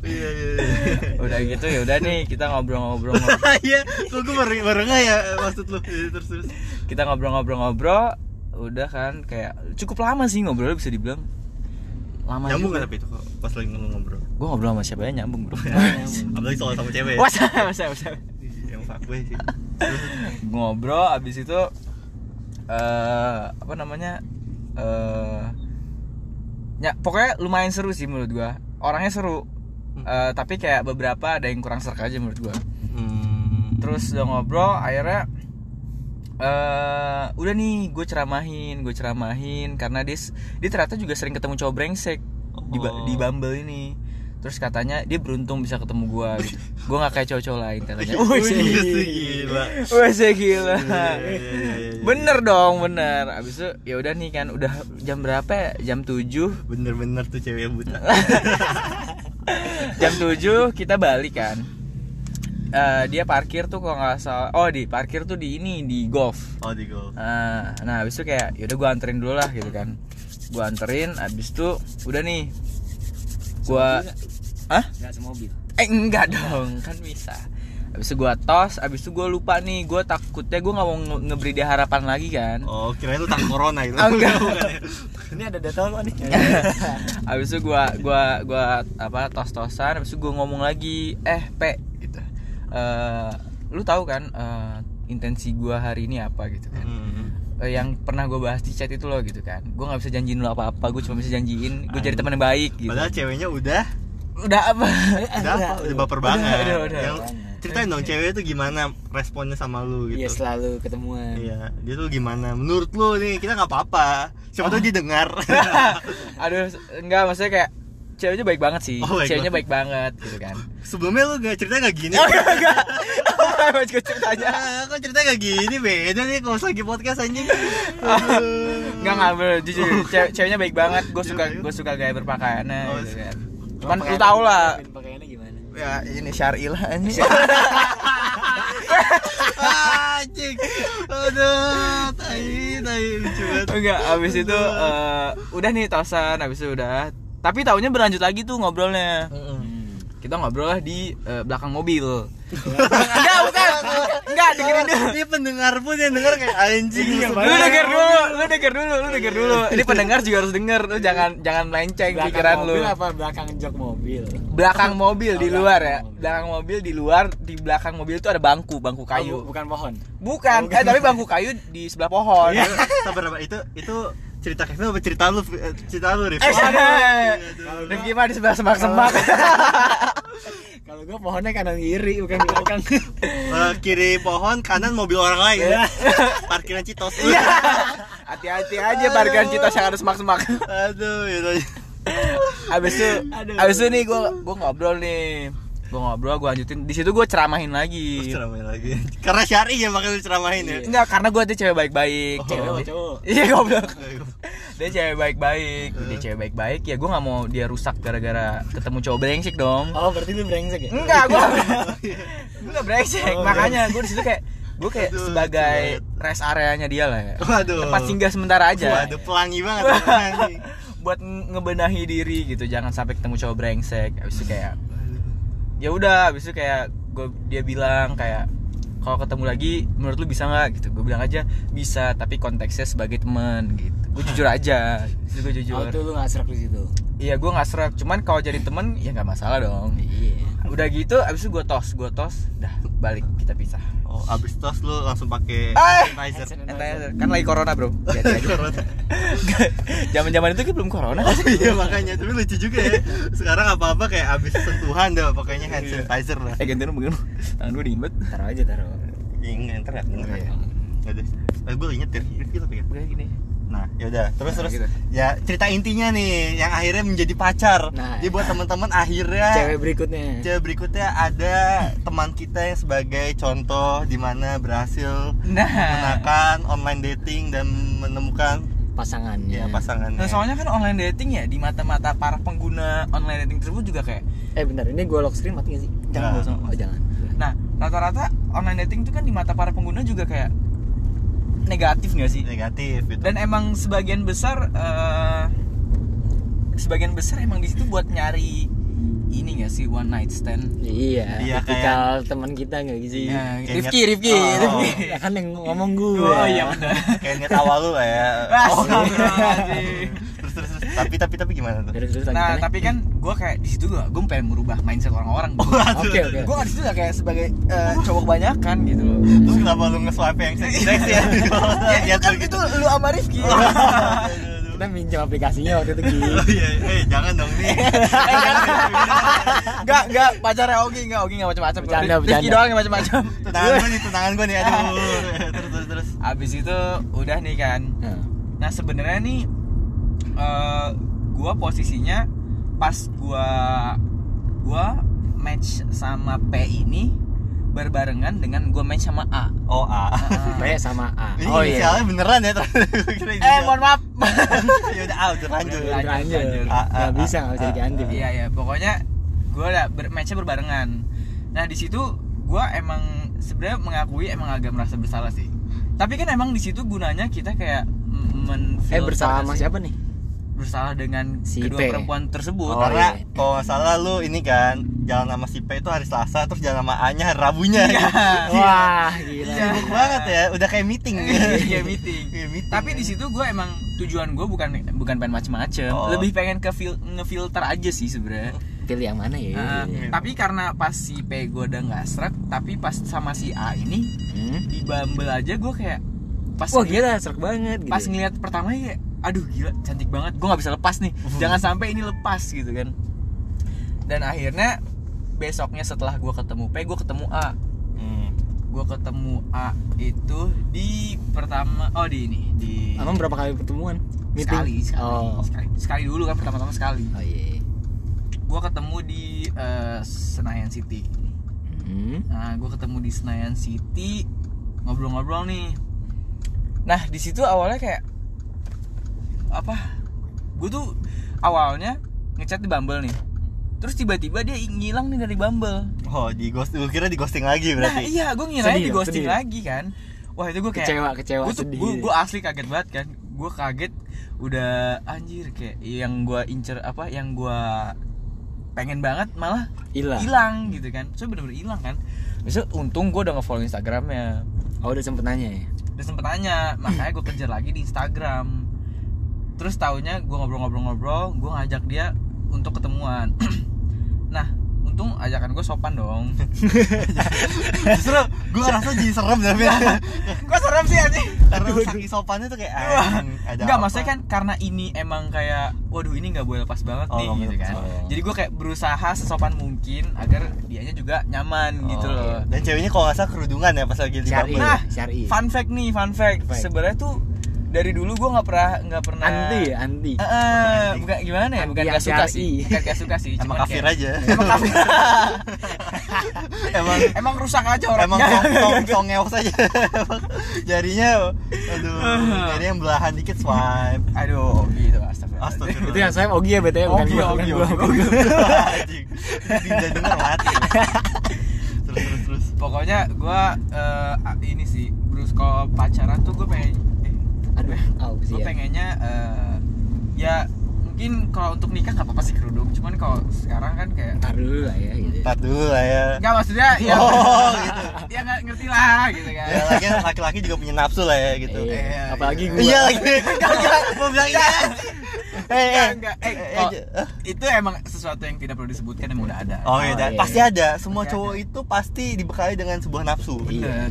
C: iya iya iya.
A: udah gitu ya udah nih kita ngobrol-ngobrol.
C: iya kok gue baru baru nggak ya maksud lu Iya, terus terus
A: kita ngobrol-ngobrol-ngobrol udah kan kayak cukup lama sih ngobrol bisa dibilang lama
C: nyambung kan?
A: juga.
C: nggak tapi itu kok pas lagi ngomong ngobrol
A: gue ngobrol sama siapa aja nyambung bro
C: Iya, apalagi soal sama cewek
A: wah sama sama sama
C: yang fuckboy sih
A: ngobrol abis itu eh apa namanya eh ya pokoknya lumayan seru sih menurut gua orangnya seru
C: Hmm.
A: Eh, tapi kayak beberapa ada yang kurang serk aja menurut gua
C: Hmm.
A: terus udah ngobrol akhirnya eh udah nih gue ceramahin gue ceramahin karena dia s- dia ternyata juga sering ketemu cowok brengsek di ba-
C: Oh.
A: di Bumble ini terus katanya dia beruntung bisa ketemu gue gitu. gue nggak kayak cowok-cowok lain katanya
C: Wih, Iya,
A: wih sih
C: gila.
A: wih sih gila
C: Iya, iya, iya, iya.
A: bener dong bener abis itu ya udah nih kan udah jam berapa ya? jam 7
C: Bener-bener tuh cewek yang buta.
A: jam 7 kita balik kan Eh, dia parkir tuh kalau nggak salah oh di parkir tuh di ini di golf
C: Oh, di golf.
A: Ah, nah habis itu kayak yaudah gue anterin dulu lah gitu kan gue anterin habis itu udah nih gue ah
B: Gak semobil
A: eh enggak dong kan bisa habis itu gue tos habis itu gue lupa nih gue takutnya gue nggak mau nge- ngeberi dia harapan lagi kan
C: Oh, kirain lu tak corona itu.
A: Ah, enggak.
C: Bukan ya?
B: Ini ada data kok nih
A: Iya. habis itu gue gua gua apa tos tosan habis itu gue ngomong lagi eh pe gitu Eh, lu tahu kan eh, intensi gue hari ini apa gitu kan
C: Hmm.
A: Eh, yang pernah gue bahas di chat itu loh gitu kan gue nggak bisa janjiin lo apa apa gue cuma bisa janjiin gue jadi teman yang baik gitu
C: Padahal ceweknya udah
A: udah apa
C: udah apa? Udah baper banget.
A: udah, udah.
C: Yang ceritain dong cewek itu gimana responnya sama lu gitu.
B: Iya selalu ketemuan
C: Iya, dia tuh gimana? Menurut lu nih, kita nggak apa-apa. Siapa tahu dia dengar.
A: aduh enggak maksudnya kayak ceweknya baik banget sih
C: Oh, baik
A: ceweknya baik banget gitu kan
C: Sebelumnya lu nggak cerita nggak gini.
A: Apa juga ceritanya
C: Ah, kok cerita nggak gini beda nih kalau lagi podcast anjing. Aduh.
A: Enggak enggak bener, jujur cewek- ceweknya baik banget gue suka gue suka gaya berpakaiannya
C: Oh,
A: gitu
C: sih.
A: kan cuman lu tau lah
B: Pakaiannya gimana?
A: ya ini syari lah ini
C: Ah, Anjing. Aduh, tai tai lucu banget.
A: enggak abis itu eh, udah nih tosan abis itu udah tapi taunya berlanjut lagi tuh ngobrolnya
B: Hmm.
A: kita ngobrol lah di eh, belakang mobil
B: Iya.
A: enggak bukan enggak dengerin dulu
C: Ini pendengar pun yang denger kayak anjing.
A: lu denger dulu lu denger dulu lu denger dulu ini pendengar juga harus denger lu jangan jangan melenceng
B: Belakang
A: pikiran lu
B: mobil apa belakang jok mobil?
A: belakang mobil di
B: Oh,
A: luar ya
B: belakang mobil.
A: belakang mobil di luar di belakang mobil itu ada bangku bangku
B: Oh, bu-
A: kayu
B: bukan pohon
A: bukan eh tapi bangku kayu di sebelah pohon
C: Iya. Sabar apa itu itu cerita Kevin apa cerita lu eh, cerita lu Rif?
A: eh sana Rifki mah di sebelah semak-semak
B: Oh. Kalau gua pohonnya kanan kiri bukan belakang
C: Eh, kiri pohon kanan mobil orang lain. Parkiran Citos.
A: Iya. hati-hati aja parkiran kita yang ada semak-semak
C: Aduh, gitu.
A: abis itu
B: Aduh.
A: abis itu nih gue gue ngobrol nih gue ngobrol gue lanjutin di situ gue ceramahin
C: Terus
A: lagi
C: ceramahin lagi. Karena syari ya makanya lu Oh, ceramahin ya.
A: enggak karena gue tuh cewek baik-baik
C: Oh.
A: cewek
B: Cewek apa cowok?
A: iya goblok dia cewek baik-baik dia
C: Eh.
A: cewek baik-baik ya gue nggak mau dia rusak gara-gara ketemu cowok brengsek dong
B: Oh berarti lu brengsek ya?
A: enggak gue gue nggak brengsek
C: iya. Oh,
A: makanya gue di situ kayak gue kayak
C: Aduh,
A: sebagai
C: lucu
A: rest areanya dia lah ya
C: Waduh.
A: tempat singgah sementara aja
C: Waduh, pelangi banget anjing.
A: buat nge- ngebenahi diri gitu jangan sampai ketemu cowok brengsek abis itu kayak ya udah abis itu kayak gua- dia bilang kayak kalau ketemu lagi menurut lu bisa nggak gitu gue bilang aja bisa tapi konteksnya sebagai teman gitu gue jujur aja gue
B: Oh
A: jujur
B: tuh lu ngasrak di situ
A: iya gue nggak serak cuman kalau jadi temen ya nggak masalah dong
B: Iya
A: udah gitu abis itu gue tos gue tos dah balik kita pisah
C: Oh, abis tos lu langsung pakai
A: Eh.
C: sanitizer.
A: Entah, kan lagi corona bro
C: Corona.
A: zaman zaman itu kan belum corona
C: Oh iya makanya, tapi lucu juga ya. Sekarang apa-apa kayak abis sentuhan dah pakainya hand sanitizer lah.
A: eh gantian mungkin tangan gue dingin banget
B: Taruh aja taruh
C: Ingat ntar ya.
A: Oh, iya.
C: Ada. Eh, gue inget ya. Rifki apa ya?
A: Udah gini
C: Nah, yaudah. Terus
A: Nah,
C: terus.
A: gitu.
C: Ya cerita intinya nih, yang akhirnya menjadi pacar.
B: Nah,
C: Jadi buat teman-teman akhirnya.
B: Cewek berikutnya
C: Ah. Cewek berikutnya ada teman kita yang sebagai contoh di mana berhasil
A: nah
C: menggunakan online dating dan menemukan ya
B: Pasangannya
C: pasangannya.
A: Nah, soalnya kan online dating ya di mata-mata para pengguna online dating tersebut juga kayak
B: Eh bentar ini gua lock screen mati gak sih?
A: jangan
C: Nah.
A: gak usah.
B: Oh jangan
A: Nah, rata-rata online dating itu kan di mata para pengguna juga kayak negatif nggak sih?
C: negatif gitu.
A: Dan emang sebagian besar eh, sebagian besar emang di situ buat nyari ini nggak sih one night stand?
B: Iya,
C: Iya,
B: tipikal teman kita nggak gitu sih?
A: Iya,
C: kayak
B: Rifki,
C: nyet-
B: Rifki,
C: Oh.
B: Rifki. Ya kan yang ngomong gue.
A: Oh iya benar.
C: kayak niat awal lu lah ya. Oh,
A: Astagfirullahaladzim.
C: terus, terus terus. Tapi tapi tapi gimana tuh?
B: Terus terus
A: Nah,
B: lanjutannya.
A: tapi kan gue kayak di situ gue gue pengen merubah mindset orang-orang.
B: Oke oke.
A: Gue di situ kayak sebagai eh, cowok kebanyakan gitu loh.
C: Terus
A: Iya,
C: kenapa lu nge-swipe yang seksi seksi ya?
A: ya kan itu lu sama Rifki
C: Aduh, aduh, aduh.
B: kita minjam aplikasinya waktu itu gitu.
C: Oh iya, eh jangan dong nih.
A: Enggak, enggak, pacarnya Ogi enggak, Ogi enggak macam-macam.
B: Bercanda,
A: Rif- Rifki
B: bercanda.
A: doang yang macam-macam. Nah,
C: Tunangan gue nih, tunangan gue nih. Aduh. Terus terus terus.
A: Abis itu udah nih kan. Nah, sebenarnya nih eh gua posisinya pas gua gua match sama P ini berbarengan dengan gua match sama A. Ah.
C: Oh
B: Ah,
C: A.
B: B sama A.
C: Ini
B: Oh iya.
C: inisialnya beneran ya. Gua kira
A: eh,
C: inisial.
A: mohon maaf.
C: Ya udah A udah lanjut.
A: Udah, udah.
B: Lanjut.
A: lanjut.
C: A, A,
B: Gak
C: A,
B: bisa, gak bisa
C: A,
B: diganti.
A: Iya ya, pokoknya gue udah ber matchnya berbarengan. Nah di situ gue emang sebenarnya mengakui emang agak merasa bersalah sih. Tapi kan emang di situ gunanya kita kayak m- menfilter
B: Eh bersama
A: sih.
B: siapa nih?
A: Bersalah dengan
B: Si
A: kedua
B: P.
A: perempuan tersebut.
B: Oh,
C: Karena
B: iya.
C: kalau nggak salah lu ini kan jalan sama si P itu hari Selasa terus jalan sama A-nya hari Rabunya. Gitu.
A: Iya.
B: Wah, gila.
A: Iya.
C: Sibuk banget ya, udah kayak meeting.
A: Iya meeting.
C: Iya, meeting.
A: Tapi di situ gue emang tujuan gue bukan bukan pengen macem-macem,
C: Oh.
A: lebih pengen ke fil- ngefilter aja sih sebenarnya.
B: Pilih yang mana ya?
A: Nah, tapi karena pas si P gue udah nggak seret, tapi pas sama si A ini
B: Hmm.
A: di Bumble aja gue kayak pas
B: Wah gila, serak banget gitu.
A: pas ngelihat pertama ya aduh gila cantik banget gue nggak bisa lepas nih jangan sampai ini lepas gitu kan dan akhirnya besoknya setelah gue ketemu P gue ketemu A
C: Hmm.
A: gue ketemu A itu di pertama oh di ini di
B: Emang berapa kali pertemuan?
A: sekali sekali,
B: Oh.
A: sekali sekali dulu kan pertama-tama sekali
B: Oh iya.
A: gue ketemu di eh, Senayan City
B: Hmm.
A: Nah, gue ketemu di Senayan City ngobrol-ngobrol nih. Nah, di situ awalnya kayak apa? Gue tuh awalnya ngechat di Bumble nih. Terus tiba-tiba dia ngilang nih dari Bumble.
C: Oh, di ghost, gue kira di ghosting lagi
A: Nah,
C: berarti.
A: iya, gue ngiranya
B: Sedih
A: di
B: dong,
A: ghosting
B: sedih.
A: lagi kan. Wah, itu gue kayak
B: Kecewa, kecewa,
A: Gue tuh
B: sedih.
A: gue gue asli kaget banget kan. Gue kaget udah anjir kayak yang gue incer apa yang gue pengen banget malah
B: Hilang.
A: hilang gitu kan so bener-bener hilang kan Besok untung gue udah nge-follow Instagramnya
B: Oh udah sempet nanya ya.
A: Udah sempet nanya Makanya gue kejar lagi di Instagram Terus taunya gue ngobrol-ngobrol-ngobrol Gue ngajak dia untuk ketemuan Nah untung ajakan gue sopan dong
C: Justru gue ngerasa jadi serem deh.
A: Iya.
C: Fir.
A: Gue serem sih anjing
C: Karena saking sopannya tuh kayak anjing, ada
A: Enggak
C: apa?
A: maksudnya kan karena ini emang kayak Waduh ini gak boleh lepas banget
C: Oh,
A: nih
C: nggak boleh
A: gitu kan
C: lepas. Oh.
A: Jadi gue kayak berusaha sesopan mungkin Agar dianya juga nyaman
C: Oh,
A: gitu
C: iya.
A: loh
C: Dan ceweknya kalau nggak salah kerudungan ya pas lagi di
B: Syari,
C: Bumble.
A: Nah,
B: syari.
C: iya.
A: fun fact nih, fun fact.
B: Fact.
A: Sebenarnya tuh dari dulu gue nggak pernah nggak pernah.
B: Anti ya, anti.
A: Eh, eh, bukan gimana ya?
B: Anti
A: Bukan
B: yang
A: gak suka
B: syar'i.
A: sih. Bukan gak suka sih.
C: Emang
A: cuman
C: kafir
A: kayak-
C: aja.
A: Emang kafir.
C: emang
A: emang rusak aja orangnya.
C: emang song song songeos aja. Emang jarinya, aduh,
B: Ah.
C: jarinya yang belahan dikit swipe.
A: Aduh, gitu astagfirullah.
C: Astagfirullah.
B: Itu yang saya Ogi ya BTW bukan
A: Ogi,
B: gua,
A: Ogi,
B: bukan
A: Ogi,
B: gua.
A: Ogi.
C: Anjing. Tidak denger mati. Terus terus terus.
A: Pokoknya gue ini sih, Bruce kalau pacaran tuh gue pengen, eh,
B: Aduh, au sih.
A: gue
C: Iya.
B: ya.
A: pengennya eh, ya mungkin kalau untuk nikah nggak apa-apa sih kerudung. Cuman kalau sekarang kan kayak
B: Ntar dulu lah ya gitu.
C: Ntar dulu lah ya.
A: Enggak maksudnya ya,
C: Oh,
A: gitu. ya nggak ngerti lah gitu kan.
C: Ya, lagi laki-laki juga punya nafsu lah ya gitu.
B: Iya,
A: Iya,
B: Apalagi gua.
C: Iya lagi. Mau bilang iya. Eh, eh.
A: Enggak, enggak. Eh,
C: Eh,
A: kok-
C: eh,
A: itu emang sesuatu yang tidak perlu disebutkan emang udah ada.
C: Oh iya,
B: Oh,
C: dan
B: iya.
C: pasti ada. Semua
A: Pasti
C: cowok
A: ada.
C: itu pasti dibekali dengan sebuah nafsu.
B: Iya.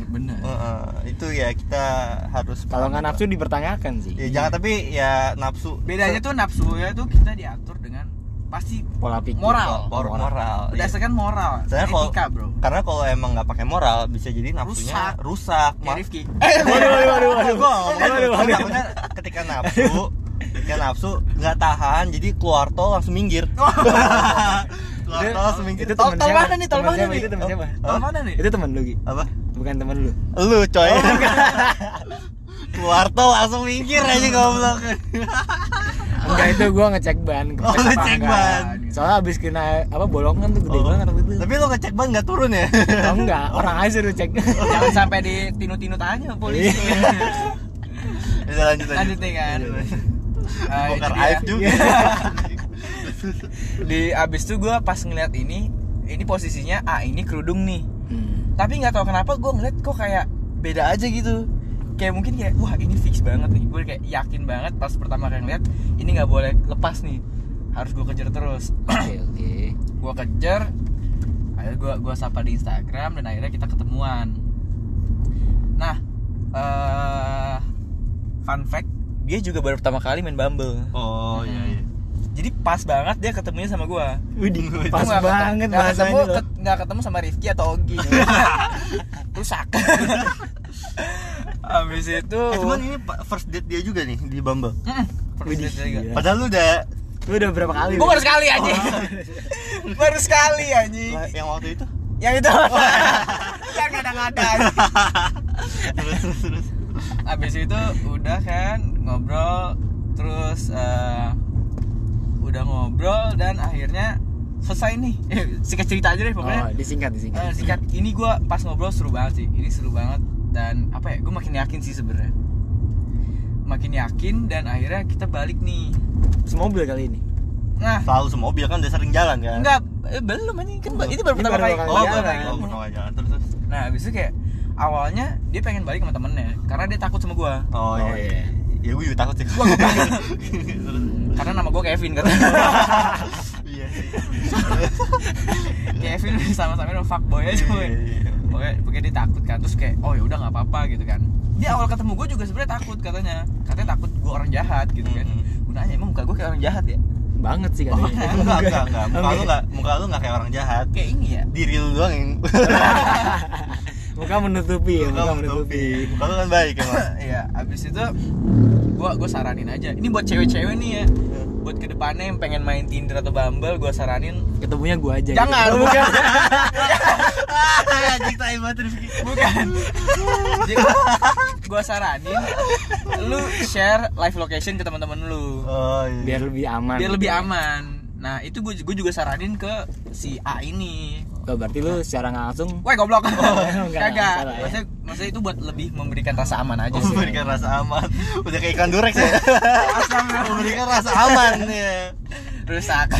A: bener, bener.
C: Heeh, itu ya kita harus
B: Kalau nggak
C: paham.
B: nafsu dipertanyakan sih.
A: Iya.
C: Ya, jangan tapi ya nafsu.
A: Bedanya tuh nafsu ya tuh kita diatur dengan pasti
B: Pola pikir.
A: Moral.
C: Por- moral. Oh, Iya.
A: berdasarkan moral,
C: Saya kalau
A: etika, Bro.
C: karena kalau emang nggak pakai moral bisa jadi nafsunya rusak.
A: Ya,
C: Ma-
A: Rifki.
C: Eh,
B: Waduh, waduh, waduh, waduh.
C: Gua nggak ngomong
B: Waduh,
C: itu.
B: waduh.
C: Takutnya ketika nafsu, ketika nafsu nggak tahan, jadi keluar tol langsung minggir. keluar
B: Itu-
C: tol langsung minggir.
B: Itu teman
A: Tol- tol
B: siapa?
A: mana nih, tol
B: Teman
A: mana
B: siapa?
A: nih? Oh.
B: Itu teman siapa?
A: Tol mana nih?
B: Itu teman lu, Gi.
C: Apa?
B: Bukan teman lu.
C: Lu coy. keluar tol langsung minggir aja goblok.
B: Enggak itu gua ngecek ban.
C: Oh,
B: kepepet
C: ngecek
B: tangga.
C: ban.
A: gitu.
B: Soalnya abis kena apa bolongan tuh gede
C: Oh.
B: banget waktu itu.
C: Tapi lu ngecek ban nggak turun ya?
B: Oh, enggak, orang aja lu cek.
A: Jangan sampai di tinu-tinu tanya polisi.
C: Iya. Bisa lanjut lanjut.
A: Lanjut nih kan. Eh, itu
C: Bongkar
A: dia.
C: aib juga.
A: Di abis itu gue pas ngeliat ini, ini posisinya A ini kerudung nih.
B: Hmm.
A: tapi nggak tahu kenapa gue ngeliat kok kayak beda aja gitu kayak mungkin kayak wah ini fix banget nih gue kayak yakin banget pas pertama kali ngeliat ini nggak boleh lepas nih harus gue kejar terus
B: Oke, oke.
A: gue kejar akhirnya gue gua sapa di Instagram dan akhirnya kita ketemuan nah eh fun fact dia juga baru pertama kali main Bumble
C: Oh iya iya.
A: jadi pas banget dia ketemunya sama gua
B: Widih,
A: Gua
B: pas
A: nggak ketemu-
B: banget
A: nggak ketemu
B: bahasanya loh.
A: ket- nggak ketemu sama Rifki atau Ogi rusak abis itu
C: Eh cuman ini pa- first date dia juga nih di Bumble.
A: Mm, first
B: Widih,
A: date juga.
B: iya.
C: Padahal lu udah
B: Lu udah berapa kali? ya?
A: Gua baru sekali anjing
C: Oh.
A: baru sekali anjing
C: yang waktu itu.
A: yang itu yang ngada-ngada anjing.
C: terus terus terus.
A: abis itu udah kan ngobrol terus eh, udah ngobrol dan akhirnya selesai nih singkat cerita aja deh
B: Oh,
A: pokoknya
B: disingkat, disingkat.
A: Eh, singkat ini gua pas ngobrol seru banget sih ini seru banget dan apa ya gue makin yakin sih sebenarnya makin yakin dan akhirnya kita balik nih
B: Semobil kali ini.
A: nah
C: Selalu semua mobil kan udah sering jalan kan.
A: enggak eh, belum anjing kan ba- ini baru
B: Ini
A: pertama
B: baru
A: kali
B: pertama
C: Oh,
B: Jalan.
C: baru kali. Oh, pertama kali jalan terus terus.
A: nah abis itu kayak awalnya dia pengen balik sama temennya karena dia takut sama gua
C: Oh, iya.
B: Oh,
C: iya.
B: iya.
C: Ya gue juga takut sih. Terus.
A: karena nama gua Kevin katanya
C: Iya sih.
A: Kevin sama-sama emang fuckboy aja
C: Iya,
A: boy.
C: iya, iya.
A: Pokoknya, pokoknya dia takut kan terus kayak oh ya udah nggak apa-apa gitu kan dia awal ketemu gue juga sebenarnya takut katanya katanya takut gue orang jahat gitu kan
C: Mhm.
A: gue nanya emang muka gue kayak orang jahat ya
B: Banget sih
C: Oh,
B: katanya.
C: enggak, enggak, enggak. Muka
B: Enggak.
C: lu enggak muka lu enggak kayak orang jahat.
A: kayak ini ya
C: Diri lu doang yang
B: Muka menutupi
C: Iya,
B: ya, muka menutupi.
C: Muka lu kan baik emang.
A: Iya abis itu gue gue saranin aja ini buat cewek-cewek nih ya buat kedepannya yang pengen main Tinder atau Bumble gue saranin
B: Ketemunya gua aja.
A: Jangan,
B: gitu. Oh, bukan.
C: Anjing tai banget Rifki.
A: bukan gue saranin lu share live location ke teman-teman lu
C: Oh iya.
B: Biar lebih aman.
A: biar lebih aman nah itu gue juga saranin ke si A ini
B: Oh, berarti lu secara nggak langsung
A: Weh goblok
B: Oh, enggak, enggak Oh,
A: kagak
B: salah ya.
A: maksudnya, maksudnya itu buat lebih memberikan rasa aman aja
B: Iya.
A: sih
C: memberikan rasa aman udah kayak ikan durek ya memberikan rasa aman ya
A: rusak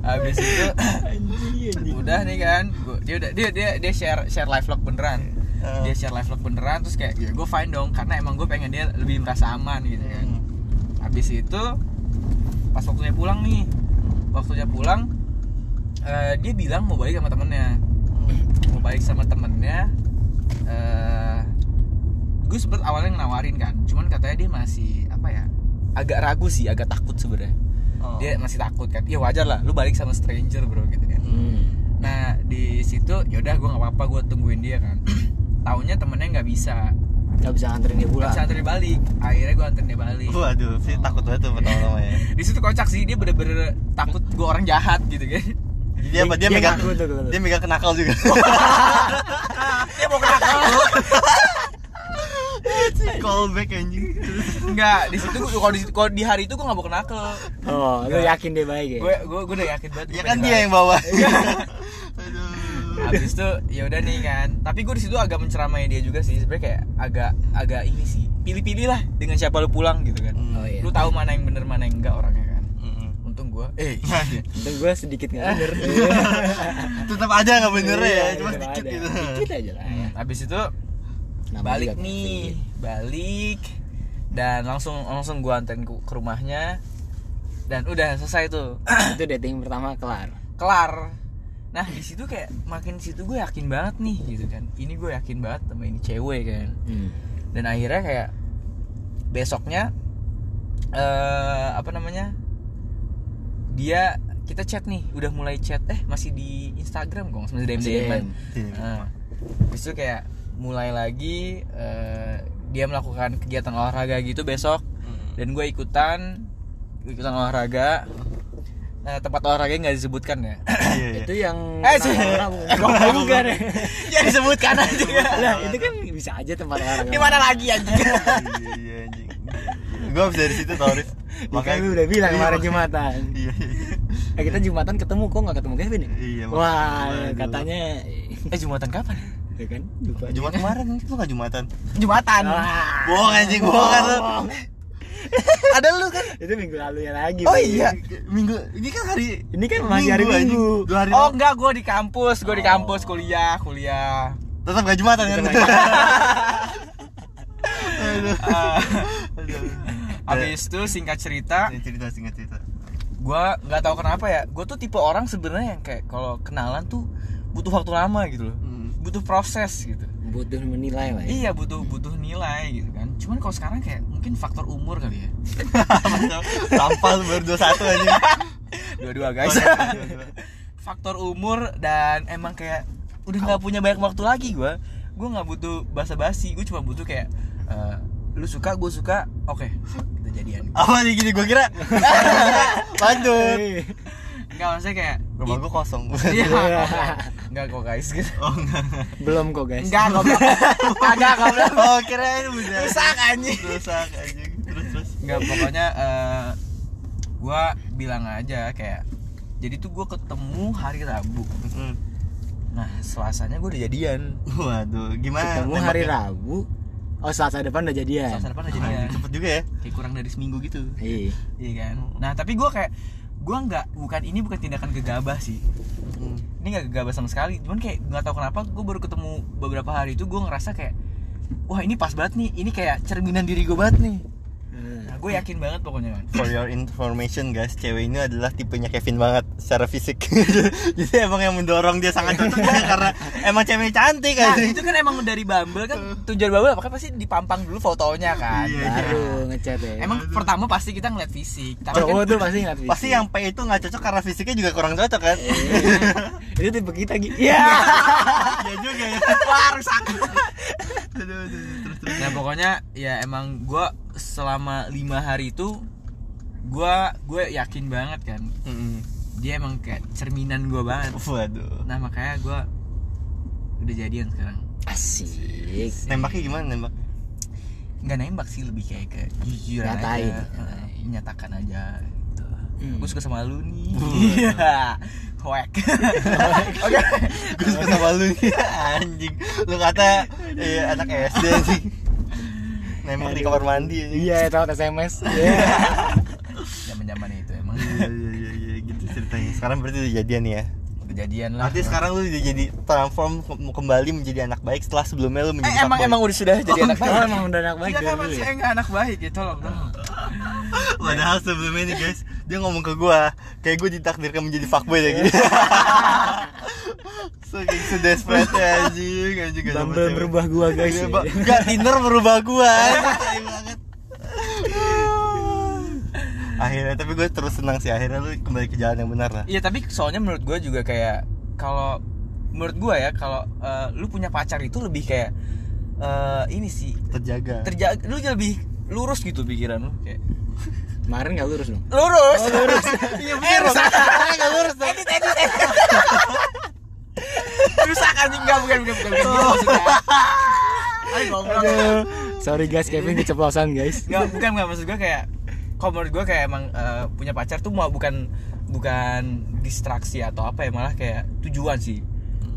A: habis itu
B: anjing, anjing.
A: udah nih kan gua, dia udah dia dia dia share share live vlog beneran
B: Oh.
C: Eh.
A: dia share live vlog beneran terus kayak ya gue fine dong karena emang gue pengen dia lebih merasa aman gitu
B: Hmm.
A: kan
C: Eh.
A: habis itu pas waktunya pulang nih waktunya pulang eh, dia bilang mau balik sama temennya mau balik sama temennya eh gue sempet awalnya nawarin kan cuman katanya dia masih apa ya agak ragu sih agak takut sebenarnya
C: Oh.
A: dia masih takut kan ya wajar lah lu balik sama stranger bro gitu kan
B: Hmm.
A: nah di situ yaudah gue nggak apa-apa gue tungguin dia kan taunya temennya nggak bisa
B: Gak bisa nganterin dia
A: nggak
B: pulang.
A: bisa anterin balik akhirnya gue anterin dia balik
C: waduh sih takut banget tuh pertama-tama ya
A: di situ kocak sih dia bener-bener takut gue orang jahat gitu kan
C: jadi apa dia
B: Dia
C: megang
B: ngaku tuh, tuh, tuh.
C: dia megang kenakal juga
A: dia mau kenapa
C: callback anjing
A: Enggak, di situ gua- kalau di, kalau di hari itu gue nggak mau kenakel.
B: Oh, lu yakin dia baik ya?
A: Gue gue gue udah yakin banget.
C: ya kan dia yang bawa
B: Iya.
C: aduh
A: Habis itu ya udah nih kan. Tapi gue di situ agak menceramai dia juga sih. Sebenarnya kayak agak agak ini sih. Pilih-pilih lah dengan siapa lu pulang gitu kan.
B: Oh iya.
A: Lu tahu mana yang bener mana yang enggak orangnya kan. Untung gue. Eh.
B: Untung gua sedikit nggak bener.
C: tetap aja nggak bener
B: Iya,
C: ya cuma
B: tetap
C: sedikit
B: ada.
C: gitu
B: Sedikit aja lah. ya.
A: Habis itu
B: Nama
A: balik
B: juga
A: nih,
B: penting.
A: balik dan langsung langsung gue anterin ke, ke rumahnya dan udah selesai tuh.
B: Itu dating pertama kelar.
A: kelar nah di situ kayak makin situ gue yakin banget nih gitu kan ini gue yakin banget sama ini cewek kan
B: Hmm.
A: dan akhirnya kayak besoknya eh apa namanya dia kita chat nih udah mulai chat eh masih di Instagram kok masih DM
B: Masih
A: DM
B: DM.
A: nah, habis itu kayak mulai lagi eh, dia melakukan kegiatan olahraga gitu besok dan gue ikutan ikutan olahraga nah tempat olahraga nggak disebutkan ya
C: Iya, iya.
B: Itu yang
A: Eh, sih.
B: orang-orang
A: Eh,
B: ngomong.
A: goblok.
B: bukan ya?
A: ya disebutkan aja
B: Lah, itu kan bisa aja tempat olahraga.
A: di mana lagi anjing
C: Iya, iya anjing gue habis dari situ tau Rif
B: Ya kan lu udah bilang
C: Iya,
B: kemarin
C: makanya-
B: Jumatan.
C: Iya, iya.
B: Eh kita Jumatan ketemu kok nggak ketemu Kevin
C: Iya,
B: ya?
C: makanya
B: Wah,
C: kemarin dulu.
B: katanya
A: eh jumatan kapan
B: ya kan lupa.
C: Jumat kemarin itu nggak Jumatan.
A: jumatan
B: Ah,
C: Bohong anjing, bohong kan lu.
A: ada lu kan
B: itu minggu lalunya lagi.
A: Oh
B: Bang.
A: iya.
C: Minggu ini kan hari
B: Ini kan masih hari
C: anjing.
B: Minggu.
C: Dua hari.
A: oh
C: Oh,
A: enggak gue di kampus gue di kampus kuliah kuliah
C: tetap gak Jumatan kan.
B: Tetap nggak
C: Aduh.
A: habis
C: Iya.
A: itu singkat cerita
C: Ini cerita singkat cerita.
A: gue nggak tahu kenapa ya gue tuh tipe orang sebenarnya yang kayak kalau kenalan tuh butuh waktu lama gitu loh
C: Hmm.
A: butuh proses gitu
B: butuh menilai lah
A: Iya
B: ya.
A: butuh butuh nilai gitu kan. Cuman kalau sekarang kayak mungkin faktor umur kali ya.
C: Sampah lu baru 21 anjing.
A: Dua-dua guys. faktor umur dan emang kayak udah nggak punya banyak waktu lagi gua. Gua nggak butuh basa-basi. Gua cuma butuh kayak eh, lu suka, gue suka. Oke, kita jadian.
C: Apa nih gini gua kira? Lanjut.
A: Enggak maksudnya kayak
C: Rumah gua kosong.
A: Iya. Enggak kok guys gitu.
C: Oh enggak.
B: Belum kok guys.
A: Enggak kok. Kagak kok.
C: Oh kirain udah.
A: Rusak anjing.
C: Rusak anjing. Terus terus.
A: Enggak pokoknya eh, gua bilang aja kayak jadi tuh gua ketemu hari Rabu.
C: Mm.
A: Nah, Selasanya gua udah jadian.
C: Waduh, gimana? ya?
B: Ketemu hari Rabu. Oh Selasa depan udah jadian.
A: Selasa depan udah
C: Jadi
A: jadian.
C: cepet juga ya.
A: Kayak kurang dari seminggu gitu.
B: Iya.
A: Iya kan? Nah, tapi gua kayak gua nggak bukan ini bukan tindakan gegabah sih.
C: Hmm.
A: Ini nggak gegabah sama sekali. Cuman kayak nggak tahu kenapa gua baru ketemu beberapa hari itu gua ngerasa kayak wah ini pas banget nih. Ini kayak cerminan diri gua banget nih. Nah, gue yakin banget pokoknya kan.
C: For your information guys, cewek ini adalah tipenya Kevin banget secara fisik. Jadi emang yang mendorong dia sangat cocok dia karena emang cewek cantik
A: Nah,
B: Iya.
C: anjing.
A: itu kan emang dari Bumble kan tujuan Bumble apa kan pasti dipampang dulu fotonya kan.
C: Iya.
B: Baru ngechat ya.
A: Emang pertama pasti kita ngeliat fisik, tapi
B: cowok
A: kan
B: tuh pasti nggak bisa.
C: Pasti yang P itu nggak cocok karena fisiknya juga kurang cocok kan?
A: Iya.
B: itu tipe kita gitu. Iya.
C: Iya juga ya.
A: Wah, rusak.
C: Aduh, aduh, terus, terus.
A: Nah, pokoknya ya emang gua selama lima hari itu gua gue yakin banget kan.
C: Mm-mm.
A: Dia emang kayak cerminan gua banget.
C: Waduh.
A: Nah, makanya gua udah jadian sekarang.
B: Asik.
C: Nembaknya gimana nembak?
A: Nggak nembak sih lebih kayak ke jujur aja.
B: Nyatain.
A: Heeh, Nyatakan aja gitu.
B: Hmm.
A: Gue suka sama lu nih.
C: Waduh.
A: Iya. Hoek. Oke.
C: Gue suka sama lu nih anjing. Lu kata iya, anak SD anjing. Nembak di kamar mandi anjing.
B: Iya, tahu SMS. Iya.
A: Zaman-zaman itu emang
C: Iya iya iya gitu ceritanya. Sekarang berarti udah jadian ya.
A: kejadian lah.
C: Artinya sekarang lu udah jadi transform ke- kembali menjadi anak baik setelah sebelumnya lu menjadi
A: Eh, emang
C: fuckboy.
A: emang udah sudah jadi anak
B: Oh,
A: baik.
B: emang udah anak
A: Iya
B: baik dari
A: kan
B: dulu
A: masih
B: ya?
A: enggak anak baik gitu loh bro.
C: Padahal sebelumnya nih guys, dia ngomong ke gua kayak gua ditakdirkan menjadi fuckboy ya gitu. so, kayak so desperate ya, anjing, anjing gak
B: Bumble berubah gua guys.
C: guys. Gak Tinder berubah gua. anjing, tai banget. akhirnya tapi gue terus senang sih akhirnya lu kembali ke jalan yang benar lah
A: Iya tapi soalnya menurut gue juga kayak kalau menurut gue ya kalau eh, lu punya pacar itu lebih kayak eh, ini sih
C: terjaga
A: terjaga lu lebih lurus gitu pikiran lu kayak
B: Kemarin nggak lurus dong.
A: lurus lurus iya bener rusak
C: gak lurus dong.
A: edit edit edit rusak anjing enggak bukan bukan bukan bukan maksudnya Ayo, goblok.
B: Aduh. Sorry guys, Kevin keceplosan guys.
A: nggak bukan nggak maksud gue kayak kalau menurut gue kayak emang eh, punya pacar tuh mau bukan bukan distraksi atau apa ya malah kayak tujuan sih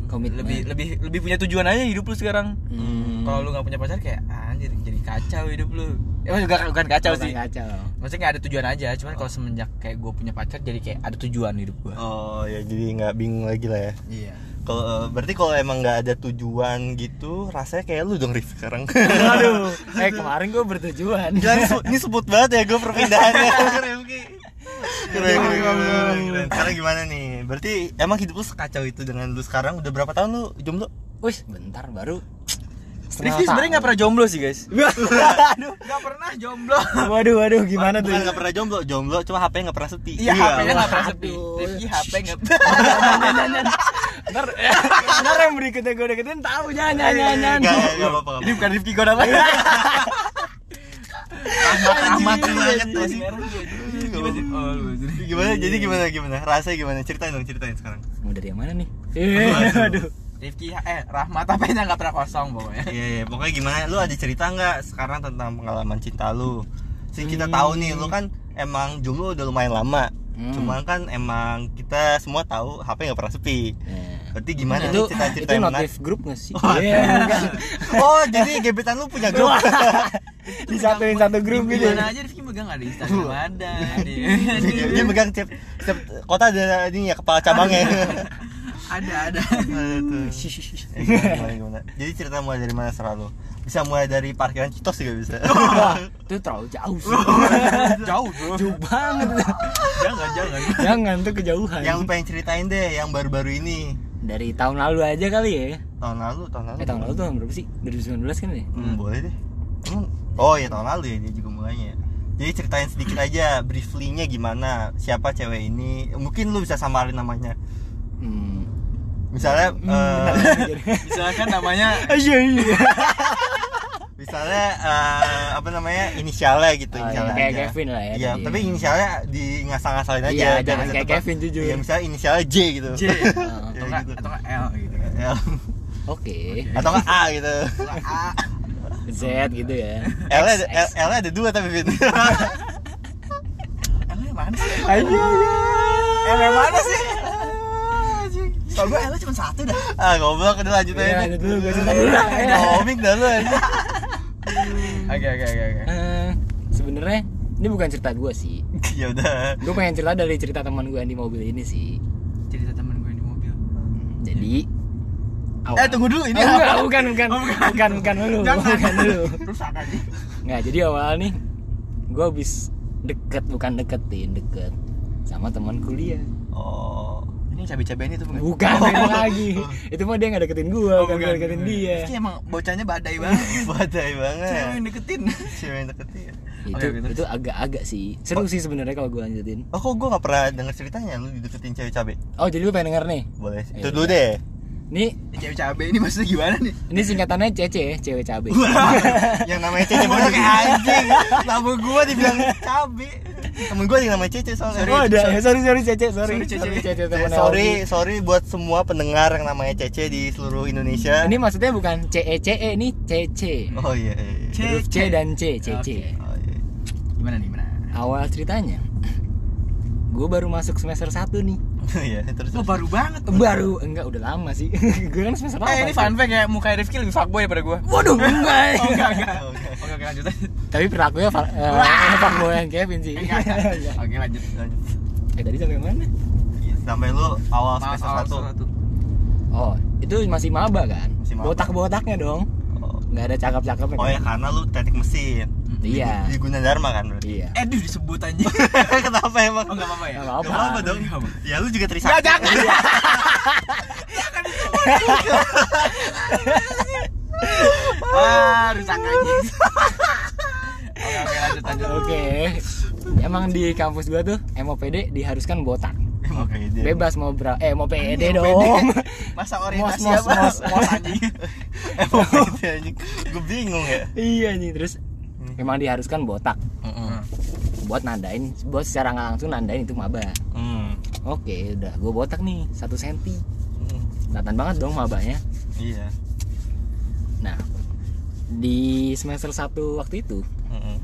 B: Komitmen.
A: lebih lebih lebih punya tujuan aja hidup lu sekarang
C: Hmm.
A: kalau lu nggak punya pacar kayak anjir jadi kacau hidup lu emang juga bukan kacau Oh. sih
B: Kacau.
A: maksudnya nggak ada tujuan aja cuman kalau semenjak kayak gue punya pacar jadi kayak ada tujuan hidup gue
C: oh ya jadi nggak bingung lagi lah ya
A: iya
C: Kalau eh, berarti kalau emang nggak ada tujuan gitu, rasanya kayak lu dong Rif sekarang.
B: Aduh, eh kemarin gue bertujuan.
C: Gila, ini, se- ini sebut banget ya gue perpindahannya. Keren, Ki. Keren, keren, keren, keren. Sekarang gimana nih? Berarti emang hidup lu sekacau itu dengan lu sekarang udah berapa tahun lu jomblo?
B: Wih, bentar baru.
A: Rifki sebenarnya nggak pernah jomblo sih guys
B: Aduh,
A: nggak pernah jomblo
B: waduh, waduh, gimana tuh?
C: Bukan nggak pernah jomblo, jomblo cuma HP-nya nggak pernah sepi.
A: iya HP-nya nggak pernah
B: Aduh.
A: sepi Rifki HP nggak
B: Ntar, ntar yang berikutnya gue deketin tahu jangan jangan jangan,
C: Nggak,
B: jangan.
C: nggak, nggak apa-apa.
A: ini bukan Rifki gue namanya Rahmat Rahmat
C: Anjing,
A: banget
C: anjing.
A: tuh sih Gimana sih? Oh, lu, jadi-
C: Gimana? Jadi gimana gimana? Rasanya gimana? Ceritain dong, ceritain sekarang.
B: Mau dari yang mana nih? Iya, aduh.
A: Rifki eh Rahmat apa yang nggak pernah kosong pokoknya
C: Iya, iya, pokoknya gimana? Lu ada cerita nggak sekarang tentang pengalaman cinta lu? Sih kita tahu nih, lu kan emang jomblo udah lumayan lama.
B: Hmm.
C: Cuman kan emang kita semua tahu HP nggak pernah sepi. Berarti gimana
B: Nah, itu
C: nih cerita-cerita
B: itu
C: yang menarik?
B: notif grup nggak sih?
C: Oh,
B: Iya, kan.
C: Oh, jadi gebetan lu punya grup.
B: disatuin satu grup gitu. Iya,
A: Gimana aja Rifki megang ada Instagram ada ada
C: dia, dia megang tiap, tiap kota ada ini ya kepala cabangnya.
A: ada ada
C: Ada tuh. Eh, gimana, gimana, gimana? Jadi cerita mulai dari mana selalu? Bisa mulai dari parkiran Citos juga bisa.
B: Wah, itu terlalu jauh sih.
A: jauh bro
B: jauh banget.
A: jangan jangan
B: Jangan tuh kejauhan.
C: yang lu pengen ceritain deh, yang baru-baru ini.
B: dari tahun lalu aja kali ya
C: tahun lalu tahun lalu
B: eh tahun lalu tuh tahun berapa sih 2019 kan ya
C: Hmm, boleh deh Emang- oh ya tahun lalu ya dia juga mulainya jadi ceritain sedikit aja briefly-nya gimana siapa cewek ini mungkin lu bisa samarin namanya
B: hmm.
C: misalnya eh,
A: Misalkan namanya
B: Aja iya.
C: misalnya eh, apa namanya inisialnya gitu
B: Oh,
C: inisialnya
B: iya, kayak
C: aja.
B: Kevin lah ya
C: iya
B: tadi.
C: tapi inisialnya di ngasal-ngasalin aja
B: Iya,
C: biar
B: jangan
C: bisa
B: kayak
C: tebak.
B: Kevin, jujur.
C: iya misalnya inisialnya J gitu
A: J
B: Oh,
A: atau enggak
C: gitu.
A: atau enggak L gitu kan.
C: L.
B: Oke,
C: atau nggak A gitu
A: Atau nggak A.
B: Z gitu ya.
C: L
B: X,
C: ada
B: X.
C: L, L ada dua tapi Vin
A: L -nya mana sih?
C: Eh,
B: Ayo.
C: iya,
A: L -nya mana sih? Soal gue L -nya cuma satu dah.
C: ah goblok udah lanjut
B: Iya,
C: aja
B: lanjut dulu, gua cerita dulu.
C: komik dah lu aja
A: Oke oke oke oke.
B: Eh, sebenarnya ini bukan cerita gue sih.
C: ya udah
B: Gue pengen cerita dari cerita teman gue di mobil ini sih.
A: Cerita teman gue di mobil.
B: Jadi
C: eh tunggu dulu ini
B: Oh,
C: apa?
B: enggak, bukan, bukan, bukan, bukan, bukan dulu, bukan dulu.
A: Rusak aja.
B: Nggak, jadi awal nih, gue habis deket, bukan deketin, deket sama teman kuliah.
C: oh
A: Ini cabai-cabai ini tuh bukan.
B: Bukan beda lagi. Itu mah dia nggak deketin gue,
A: Oh,
B: kan gue deketin dia. Iya.
A: Pasti emang bocahnya badai banget.
C: badai
A: Cewek yang
C: banget
A: deketin.
C: cewek yang deketin ya.
B: Itu,
A: Oke, oke, terus.
B: itu agak-agak sih seru sih sebenarnya kalau gue lanjutin.
C: oh kok gue gak pernah denger ceritanya lu dideketin cewek cabe
B: Oh jadi lu pengen denger nih?
C: boleh sih.
B: Iya.
C: itu dulu deh
B: Nih
A: Cewek cabai ini maksudnya gimana nih?
B: ini singkatannya CC, cewek cabe.
C: yang namanya Cece bodoh kayak anjing nama gue dibilang cabe temen gue yang namanya Cece soalnya
B: Oh ada, ya, sorry sorry Cece, sorry.
A: Sorry, Cece.
B: Cece
C: Eh,
B: teman
C: sorry,
B: Aldi.
C: sorry buat semua pendengar yang namanya Cece di seluruh Indonesia.
B: Ini maksudnya bukan CECE, E, ini CC.
C: Oh iya. iya, iya.
A: Cece.
B: Huruf C dan C, CC.
A: Oke.
C: Oh, iya.
A: Gimana nih gimana?
B: Awal ceritanya, gue baru masuk semester 1 nih.
C: Iya, terus.
A: Oh baru banget.
B: Baru, enggak udah lama sih. gue kan semester 8.
A: Eh ini fun fact ya, muka Rifki lebih fuckboy daripada gue.
B: Waduh, enggak.
A: Oh enggak enggak. Oke oke lanjut aja.
B: Tapi perilakunya fun, uh, fun Kevin sih.
A: Enggak,
B: iya,
A: enggak. Oke lanjut.
C: Lanjut.
B: eh tadi sampai mana?
C: Iya, Sampai lu awal
A: Maaf,
C: semester
A: awal
C: satu.
A: satu.
B: Oh, itu masih maba kan?
C: Masih maba.
B: Botak-botaknya dong.
C: Oh.
B: Enggak ada cakap-cakapnya.
C: Oh
B: kan?
C: ya karena lu teknik mesin
B: Iya.
C: di Gunadarma kan berarti.
B: Iya.
A: Eh, duh, disebut aja.
C: Kenapa emang?
A: Oh, enggak apa-apa ya?
B: Nggak
C: Gak apa-apa dong.
A: Nggak apa-apa.
C: Ya lu juga
A: Nggak,
C: Trisakti.
A: jangan. Wah, rusak aja. Oke, oke, lanjut, lanjut.
B: Oke. Emang di kampus gua tuh MOPD diharuskan botak.
C: Oke, dia.
B: Bebas mau bra eh mau PD
A: Ini
B: dong.
A: OPD. Masa orientasi
B: Mos, mos,
A: apa?
B: mos.
A: Mos anjing.
C: Emang gitu anjing. Gue bingung ya.
B: iya nih terus memang diharuskan botak
C: Heeh.
B: buat nandain buat secara nggak langsung nandain itu maba.
C: Hmm.
B: Oke, udah gua botak nih satu senti. Kelihatan banget dong mabanya.
C: Iya.
B: Nah, di semester 1 waktu itu
C: Heeh.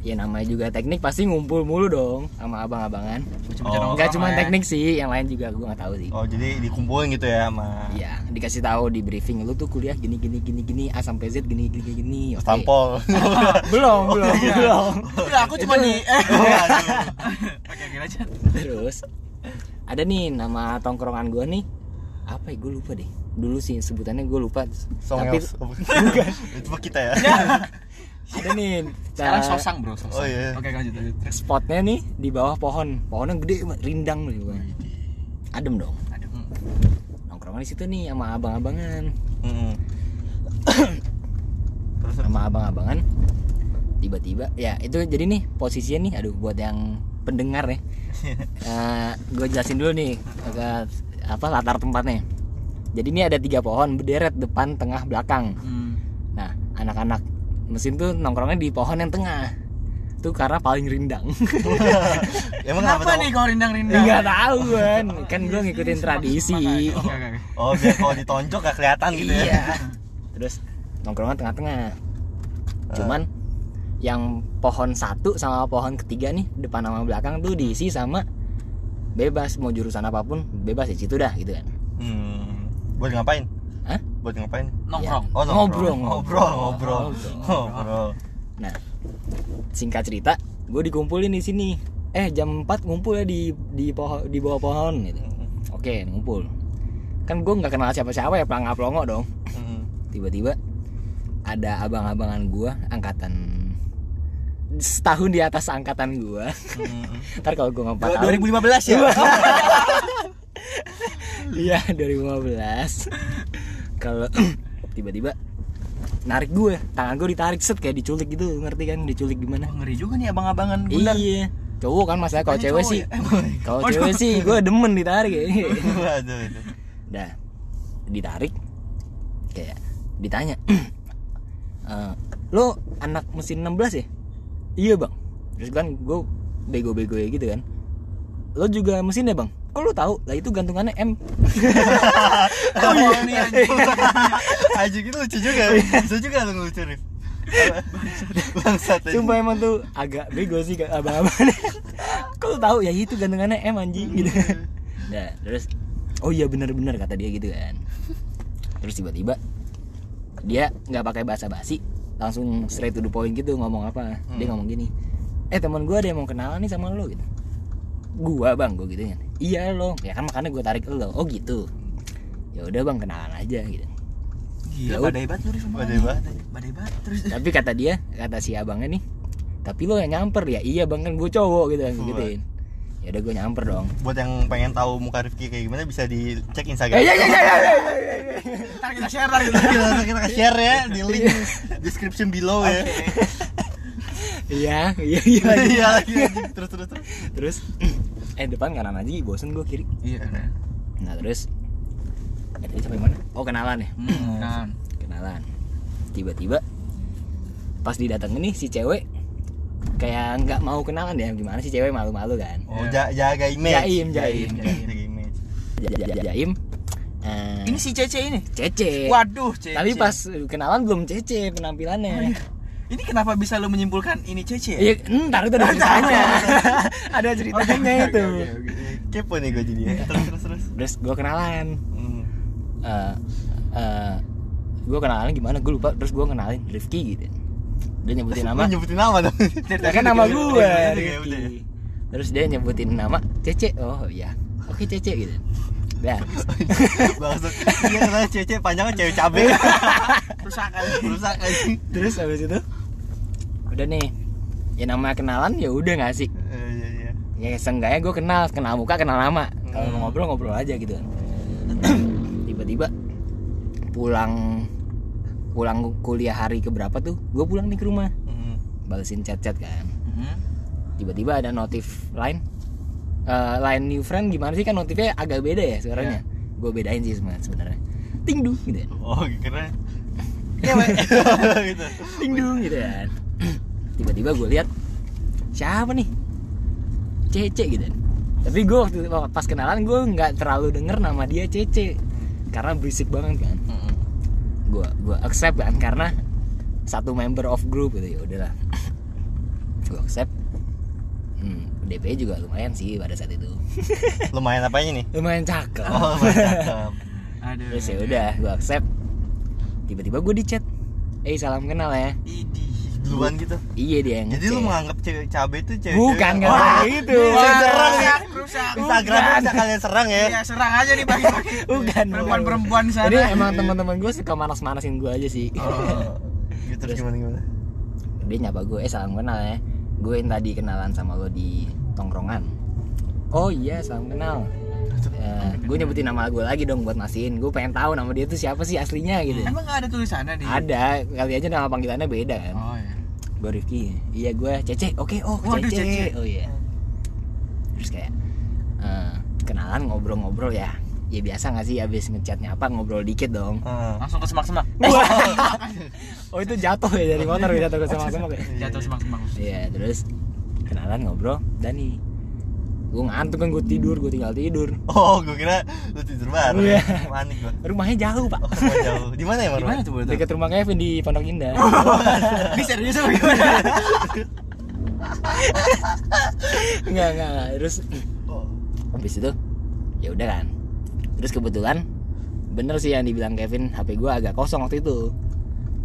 B: ya namanya juga teknik pasti ngumpul mulu dong sama abang-abangan
A: Bocah-bocah
C: Oh.
A: nongkrong
B: nggak cuma
A: lah ya.
B: teknik sih yang lain juga gua nggak tahu sih
C: Oh, jadi dikumpulin gitu ya sama
B: Iya, dikasih tahu di briefing lu tuh kuliah gini gini gini gini A sampai Z gini gini gini, gini. Oke.
C: tampol.
B: Belum, belum, belum.
A: Udah, aku cuma di eh.
C: Waduh.
A: Oke, oke, lanjut.
B: Terus ada nih nama tongkrongan gua nih. Apa ya gue lupa deh. Dulu sih sebutannya gue lupa.
C: Song
B: Tapi
C: Eos. Bukan. Itu mah kita ya.
B: ada nih
A: Sekarang
B: eh,
A: sosang, Bro, sosang.
C: Oh, iya.
A: Oke, lanjut, lanjut. Terus.
B: spotnya nih di bawah pohon. Pohonnya gede banget, rindang nih pokoknya. Adem dong.
A: Aduh.
B: Nongkrongan di situ nih sama abang-abangan.
C: Mm-mm. Terus
B: sama abang-abangan tiba-tiba ya itu jadi nih posisinya nih aduh buat yang pendengar ya gue jelasin dulu nih agak apa latar tempatnya jadi ini ada tiga pohon berderet depan tengah belakang
A: Hmm.
B: nah anak-anak mesin tuh nongkrongnya di pohon yang tengah tuh karena paling rindang
C: Emang
A: Kenapa
C: kenapa tahu?
A: nih kau rindang-rindang?
B: nggak tahu kan kan gue ngikutin tradisi
A: Iya, Oke, oke, oke.
C: Oh, biar kalau ditonjok gak kelihatan gitu ya.
B: iya terus nongkrongan tengah-tengah cuman yang pohon satu sama pohon ketiga nih depan sama belakang tuh diisi sama bebas mau jurusan apapun bebas di situ dah gitu kan
C: Hmm. Buat ngapain?
B: Hah?
C: Buat ngapain?
A: Nongkrong.
C: Oh,
B: Ngobrol,
C: nongkrong.
B: ngobrol.
C: ngobrol, ngobrol. Ngobrol.
B: nah singkat cerita gue dikumpulin di sini eh jam 4 ngumpul ya di di pohon di bawah pohon gitu oke ngumpul kan gue nggak kenal siapa-siapa ya pelangga pelongo dong
C: Mm-mm.
B: tiba-tiba ada abang-abangan gua angkatan setahun di atas angkatan gua
C: Mm-mm.
A: ya?
B: ntar kalau gua nggak empat tahun
A: 2015 ya?
B: Iya 2015 Kalau tiba-tiba narik gue tangan gue ditarik set kayak diculik gitu ngerti kan diculik gimana
A: Wah, ngeri juga nih abang-abangan bundar.
B: iya cowok kan masalah kalau
A: Hanya
B: cewek
A: cowok
B: sih
A: ya? Emang.
B: kalau
A: Waduh.
B: cewek sih gue demen ditarik ya
C: Waduh itu.
B: Dah ditarik kayak ditanya "Eh, lo anak mesin 16 ya iya bang terus kan gue bego-bego ya gitu kan lo juga mesin ya bang kok lo tahu lah itu gantungannya M
C: Oh iya nih anjing. Anjing itu lucu juga.
B: Oh, iya.
C: Lucu juga tuh lucu Rif. Bangsat. anjing.
B: Cuma emang tuh agak bego sih kayak abang-abang. Kau tahu ya itu gantungannya M anjing gitu. Nah, terus oh iya benar-benar kata dia gitu kan. Terus tiba-tiba dia nggak pakai bahasa basi, langsung straight to the point gitu ngomong apa. Dia ngomong gini. Eh teman gue ada yang mau kenalan nih sama lo gitu. Gua bang, gue gitu kan. Iya lo, ya kan makanya gue tarik lo. Oh gitu. Ya udah bang kenalan aja gitu.
A: Gila,
B: Lalu-
A: badai banget lu Rif,
C: Badai
A: emang.
C: banget.
A: Badai banget terus.
B: tapi kata dia kata si abangnya nih tapi lo yang nyamper ya iya bang kan gue cowok gitu kan gue gituin ya udah gue nyamper dong
C: Buat yang pengen tahu muka Rifki kayak gimana bisa dicek Instagram.
B: eh ya ya ya ya ya
A: Ntar kita share ntar kita.
C: Kita kita share ya di link description below ya.
B: iya iya iya lagi.
C: Iya lagi anjing. terus terus terus.
B: terus eh depan kanan aja bosen gue kiri
A: Iya kan.
B: nah terus eh tadi sampai mana oh kenalan ya
A: Hmm, kan.
B: kenalan tiba-tiba pas didatengin nih si cewek kayak nggak mau kenalan ya gimana sih cewek malu-malu kan
C: Oh ja- jaga image.
B: Jaim, jaim, jaim.
C: Jaga image.
B: Ja- ja- ja- jaim eh,
A: Ini si Cece ini.
B: cece
A: Waduh, Cece. Oh, iya.
B: tapi pas kenalan belum cece penampilannya
A: ini kenapa bisa lu menyimpulkan ini Cece? ya?
B: Iya, ntar itu ada ceritanya. ada ceritanya
A: Oke, oke,
B: itu.
A: oke, oke.
C: Kepo nih gue jadi. Gitu. Terus terus terus.
B: Terus gue kenalan.
C: Hmm.
B: Eh, eh, gue kenalan gimana? Gue lupa. Terus gue kenalin Rifki gitu. Dia nyebutin nama.
C: Lu nyebutin nama dong.
B: Ya kan nama gue
C: Udah, udah, udah, ya.
B: Rifki.
C: udah.
B: Terus dia nyebutin nama Cece. Oh iya. Oke Cece gitu. Dan
C: Bangsat. Iya kenapa cewek panjangnya cewek cabe.
A: Rusak kan.
C: Rusak anjing.
B: terus habis itu udah nih. Ya nama kenalan ya udah nggak sih.
C: Eh, Iya iya.
B: ya seenggaknya gue kenal kenal muka kenal nama kalau
C: Hmm.
B: mau ngobrol ngobrol aja gitu kan tiba-tiba pulang pulang kuliah hari keberapa tuh gue pulang nih ke rumah
C: Hmm.
B: balesin chat-chat kan
A: Mhm.
B: tiba-tiba ada notif line Eh, line new friend gimana sih kan notifnya agak beda ya suaranya gue bedain sih sebenarnya sebenarnya tingdu gitu kan
C: Oh keren.
A: Iya, Pak.
C: gitu.
B: tingdung gitu kan tiba-tiba gue lihat siapa nih Cece gitu kan tapi gue waktu pas kenalan gue nggak terlalu denger nama dia Cece karena berisik banget kan
C: Hmm.
A: Mhm.
B: gue gua accept kan karena satu member of group gitu ya udahlah gue accept hmm, DP juga lumayan sih pada saat itu
C: Lumayan apanya nih?
B: lumayan cakep
C: Oh, mantap.
A: Aduh.
B: terus ya udah gue accept tiba-tiba gue di chat eh salam kenal ya
A: Idi.
C: Duluan gitu.
B: iya dia yang
C: Jadi lu
B: ngechat.
C: menganggap cewek cabe itu cewek
B: Bukan, nggak kayak gitu.
C: Bisa
B: Wah.
C: serang ya.
A: Rusak, rusak.
C: Instagram
A: Bukan.
C: bisa kalian serang ya.
A: Iya, serang aja nih pagi-pagi.
B: Bukan.
A: Perempuan-perempuan di sana.
B: Jadi emang teman-teman gue suka manas-manasin gue aja sih.
C: Oh. Gitu terus gimana gimana?
B: Dia nyapa gue, eh salam kenal ya. Gue yang tadi kenalan sama lo di tongkrongan. Oh iya, salam kenal. Eh, gue nyebutin nama gue lagi dong buat mastiin. Gue pengen tahu nama dia tuh siapa sih aslinya gitu.
A: Emang nggak ada tulisannya di.
B: Ada, kali aja nama panggilannya beda kan.
A: Oh iya.
B: Gue Rifki. Iya gue Cece. Oke, oh
A: Waduh,
B: Cece.
A: Cece.
B: Oh iya. Terus kayak eh, kenalan ngobrol-ngobrol ya. Ya biasa gak sih abis ngechatnya apa ngobrol dikit dong.
C: Heeh.
A: Langsung ke semak-semak.
C: Eh.
B: Oh itu jatuh ya dari motor ya jatuh ke semak-semak ya.
A: Jatuh semak-semak.
B: Iya terus kenalan ngobrol Dani. Gue ngantuk kan gue tidur gue tinggal tidur.
C: Oh, gue kira lu tidur bareng.
B: Iya.
C: Panik gua.
B: Rumahnya jauh pak.
C: Oh, rumah jauh. Di mana ya, Mar?
A: Gimana tuh, Bro?
B: Dekat rumah Kevin di Pondok Indah.
A: Ini serius apa gimana?
B: Enggak enggak. enggak. Terus
C: Oh.
B: habis itu ya udah kan. Terus kebetulan bener sih yang dibilang Kevin HP gue agak kosong waktu itu.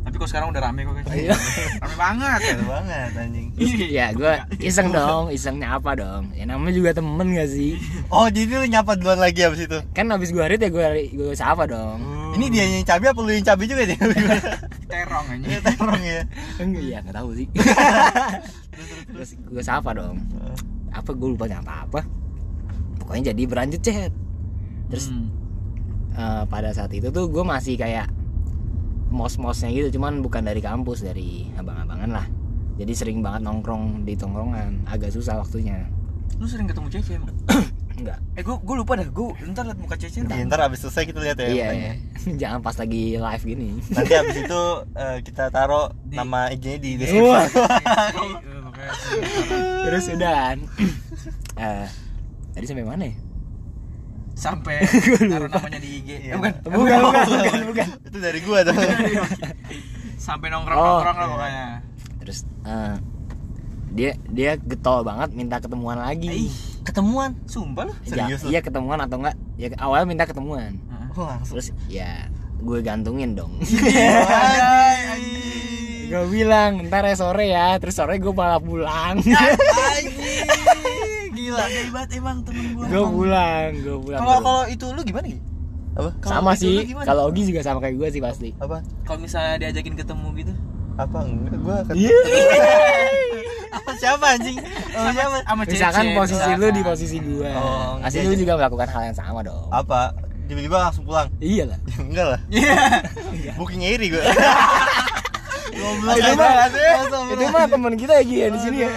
A: Tapi kok sekarang udah rame kok guys.
B: Iya.
A: Rame banget.
C: Jauh banget anjing.
B: Terus, ya gue iseng dong, isengnya apa dong? Ya namanya juga temen gak sih?
C: Oh, jadi lu nyapa duluan lagi abis itu.
B: Kan habis gue harit ya gue gue sapa dong.
C: Ini dia yang cabe apa lu yang cabe juga dia?
A: terong Hmm.
C: Iya,
A: aja.
C: terong ya.
B: Enggak ya nggak tahu sih. Terus gue sapa dong. Apa gue lupa nyapa apa? Pokoknya jadi berlanjut chat. Terus
A: Hmm.
B: eh, pada saat itu tuh gue masih kayak mos-mosnya gitu cuman bukan dari kampus dari abang-abangan lah jadi sering banget nongkrong di tongkrongan agak susah waktunya
A: Lu sering ketemu Cece emang?
B: enggak
A: Eh gua gua lupa dah, gua ntar liat muka Cece
C: Iya,
A: dah.
C: ntar abis selesai kita lihat ya.
B: iya
C: mukanya.
B: iya. jangan pas lagi live gini
C: Nanti abis itu eh, kita taruh
A: Di-
C: nama IG-nya di
B: Wah.
C: description.
A: Eh, makanya sering.
B: terus udahan Eh, tadi sampai mana ya
A: Sampai taruh namanya di IG. Eh,
C: Iya.
A: bukan.
B: bukan bukan bukan, bukan.
C: itu dari gua tuh.
A: Sampai nongkrong-nongkrong lah
C: Oh, iya.
A: pokoknya.
B: terus eh, dia dia getol banget minta ketemuan lagi
A: Ih, ketemuan, sumpah lu.
B: Ya,
C: serius lu?
B: iya ketemuan atau enggak ya awalnya minta ketemuan
C: Oh, langsung.
B: terus ya gue gantungin dong
C: Anjing.
B: gue bilang ntar ya sore ya terus sore gue malah pulang
C: Eh,
A: Anjing, gila. Gila banget emang temen gua.
B: gue pulang gue pulang
C: Kalau kalau itu lu gimana Gi? Apa? Kalau
B: sama
C: itu lu
B: sih
C: gimana? Oh,
B: kalau Ogi juga sama kayak gue sih pasti
C: apa?
A: Kalau misalnya diajakin ketemu gitu.
C: Apa enggak gua ket-
B: Iya.
C: Apa siapa anjing? Sama siapa?
A: Sama Cece.
B: misalkan posisi lu di
A: misalkan.
B: posisi gue
C: Oh,
B: pasti
C: iya,
B: lu
C: iya. Oh.
B: juga melakukan hal yang sama dong
C: Apa? Tiba-tiba langsung pulang.
B: iya lah
C: Ya, enggak lah.
A: Iya.
C: Bookingnya iri gua. eh. Goblok.
B: Itu mah- itu
C: Astagfirullahaladzim.
B: mah temen kita ya Gi, ya di sini ya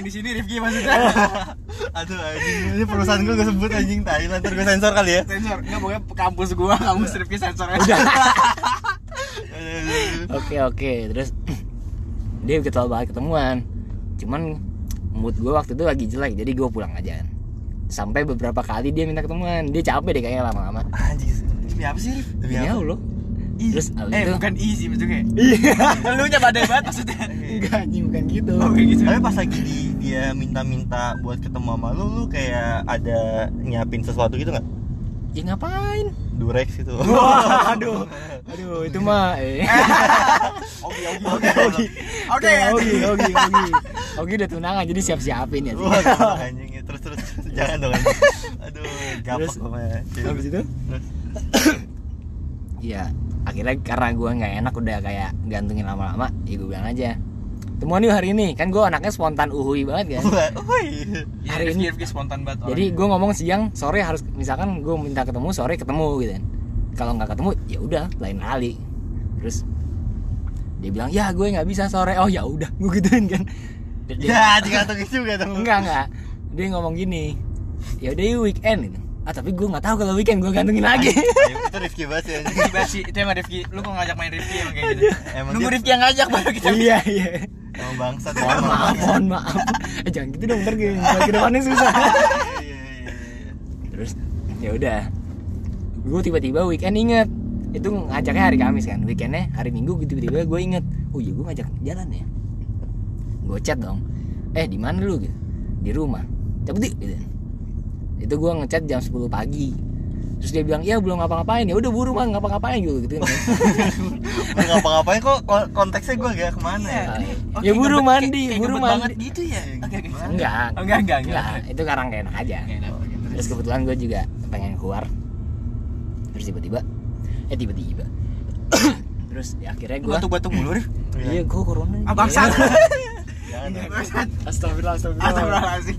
A: Yang di sini Rifki maksudnya.
B: Iya.
C: Aduh anjing, ini perusahaan gua gua sebut anjing Thailand ntar gua sensor kali ya.
A: Sensor. Enggak pokoknya kampus gua, kampus
B: Iya.
A: Rifki sensor aja.
B: oke oke terus dia ketol banget ketemuan cuman mood gue waktu itu lagi jelek jadi gue pulang aja sampai beberapa kali dia minta ketemuan dia capek deh kayaknya lama-lama
C: Anjing. Iya.
A: Demi apa sih, Rif?
C: Demi
B: ya
C: apa?
B: lo
A: Ih.
B: Terus abis
A: eh
B: itu-
A: bukan I sih maksudnya.
B: iya
A: Lu nya badai banget maksudnya.
B: enggak anjing bukan gitu
A: Oh, kayak gitu.
C: Tapi pas lagi di- dia minta-minta buat ketemu sama lu, lu kayak ada nyiapin sesuatu gitu nggak?
B: ya ngapain
C: Durex gitu.
B: aduh aduh itu mah eh.
C: Oke, oke, oke.
A: Oke.
B: Ogi Ogi Ogi Ogi udah tunangan jadi siap-siapin ya sih
C: Wah, goblok anjing terus terus jangan dong anjing. Aduh, gapak
B: Terus,
C: gua mah.
B: habis itu
C: Terus.
B: Iya akhirnya karena gue nggak enak udah kayak gantungin lama-lama ya gue bilang aja temuan yuk hari ini kan gue anaknya spontan uhui banget kan
C: Wah, woi.
A: Ya,
B: Hari
A: Rifki
B: ini-
A: Rifki spontan banget.
B: Iya, jadi gue ngomong siang sore harus misalkan gue minta ketemu sore ketemu gitu kan kalau nggak ketemu ya udah lain kali terus dia bilang ya gue nggak bisa sore oh ya udah gue gituin kan Dia- dia-
C: Ya, dikantongin juga dong.
B: enggak enggak dia ngomong gini ya udah yuk weekend gitu ah tapi gue nggak tahu kalau weekend gue gantungin lagi
C: Ayo, itu Rifki banget sih anjing.
A: Rifki banget sih, itu emang Rifki. Lu kok ngajak main Rifki emang kayak gitu.
C: Emang
A: Nunggu
C: dia-
A: Rifki yang ngajak baru gitu. kita.
B: iya iya
C: Emang bangsat
B: mohon
C: emang.
B: maaf mohon maaf eh, jangan gitu dong ntar ke ke depannya susah
C: Iya, iya, iya.
B: terus ya udah gue tiba-tiba weekend inget itu ngajaknya hari Kamis kan weekendnya hari Minggu gue tiba-tiba gue inget oh iya gue ngajak jalan ya gue chat dong eh di mana lu gitu di rumah cabut yuk," gitu itu gue ngechat jam 10 pagi terus dia bilang ya belum ngapa-ngapain ya udah buru mah ngapa-ngapain gitu gitu
C: Gua ngapa-ngapain kok ko- konteksnya gue agak kemana ya?
B: Iya.
A: Oke,
B: Ya, buru
A: ngebet-
B: mandi,
A: kayak
B: buru
A: ngebet
B: mandi.
A: banget gitu
C: Iya,
A: ya. Oke, oke.
B: enggak
A: Oh, enggak, enggak, enggak.
B: itu karang kayak enak aja
A: Oke, enak, oke, terus.
B: terus kebetulan gue juga pengen keluar terus tiba-tiba eh tiba-tiba terus ya, akhirnya
A: Lu
B: gue
A: batuk-batuk mulu, Rif.
B: iya gue corona nih.
A: Ah, bangsat.
C: ya. Jangan, jangan.
A: Bangsat.
B: astagfirullah astagfirullah
A: Astagfirullahaladzim.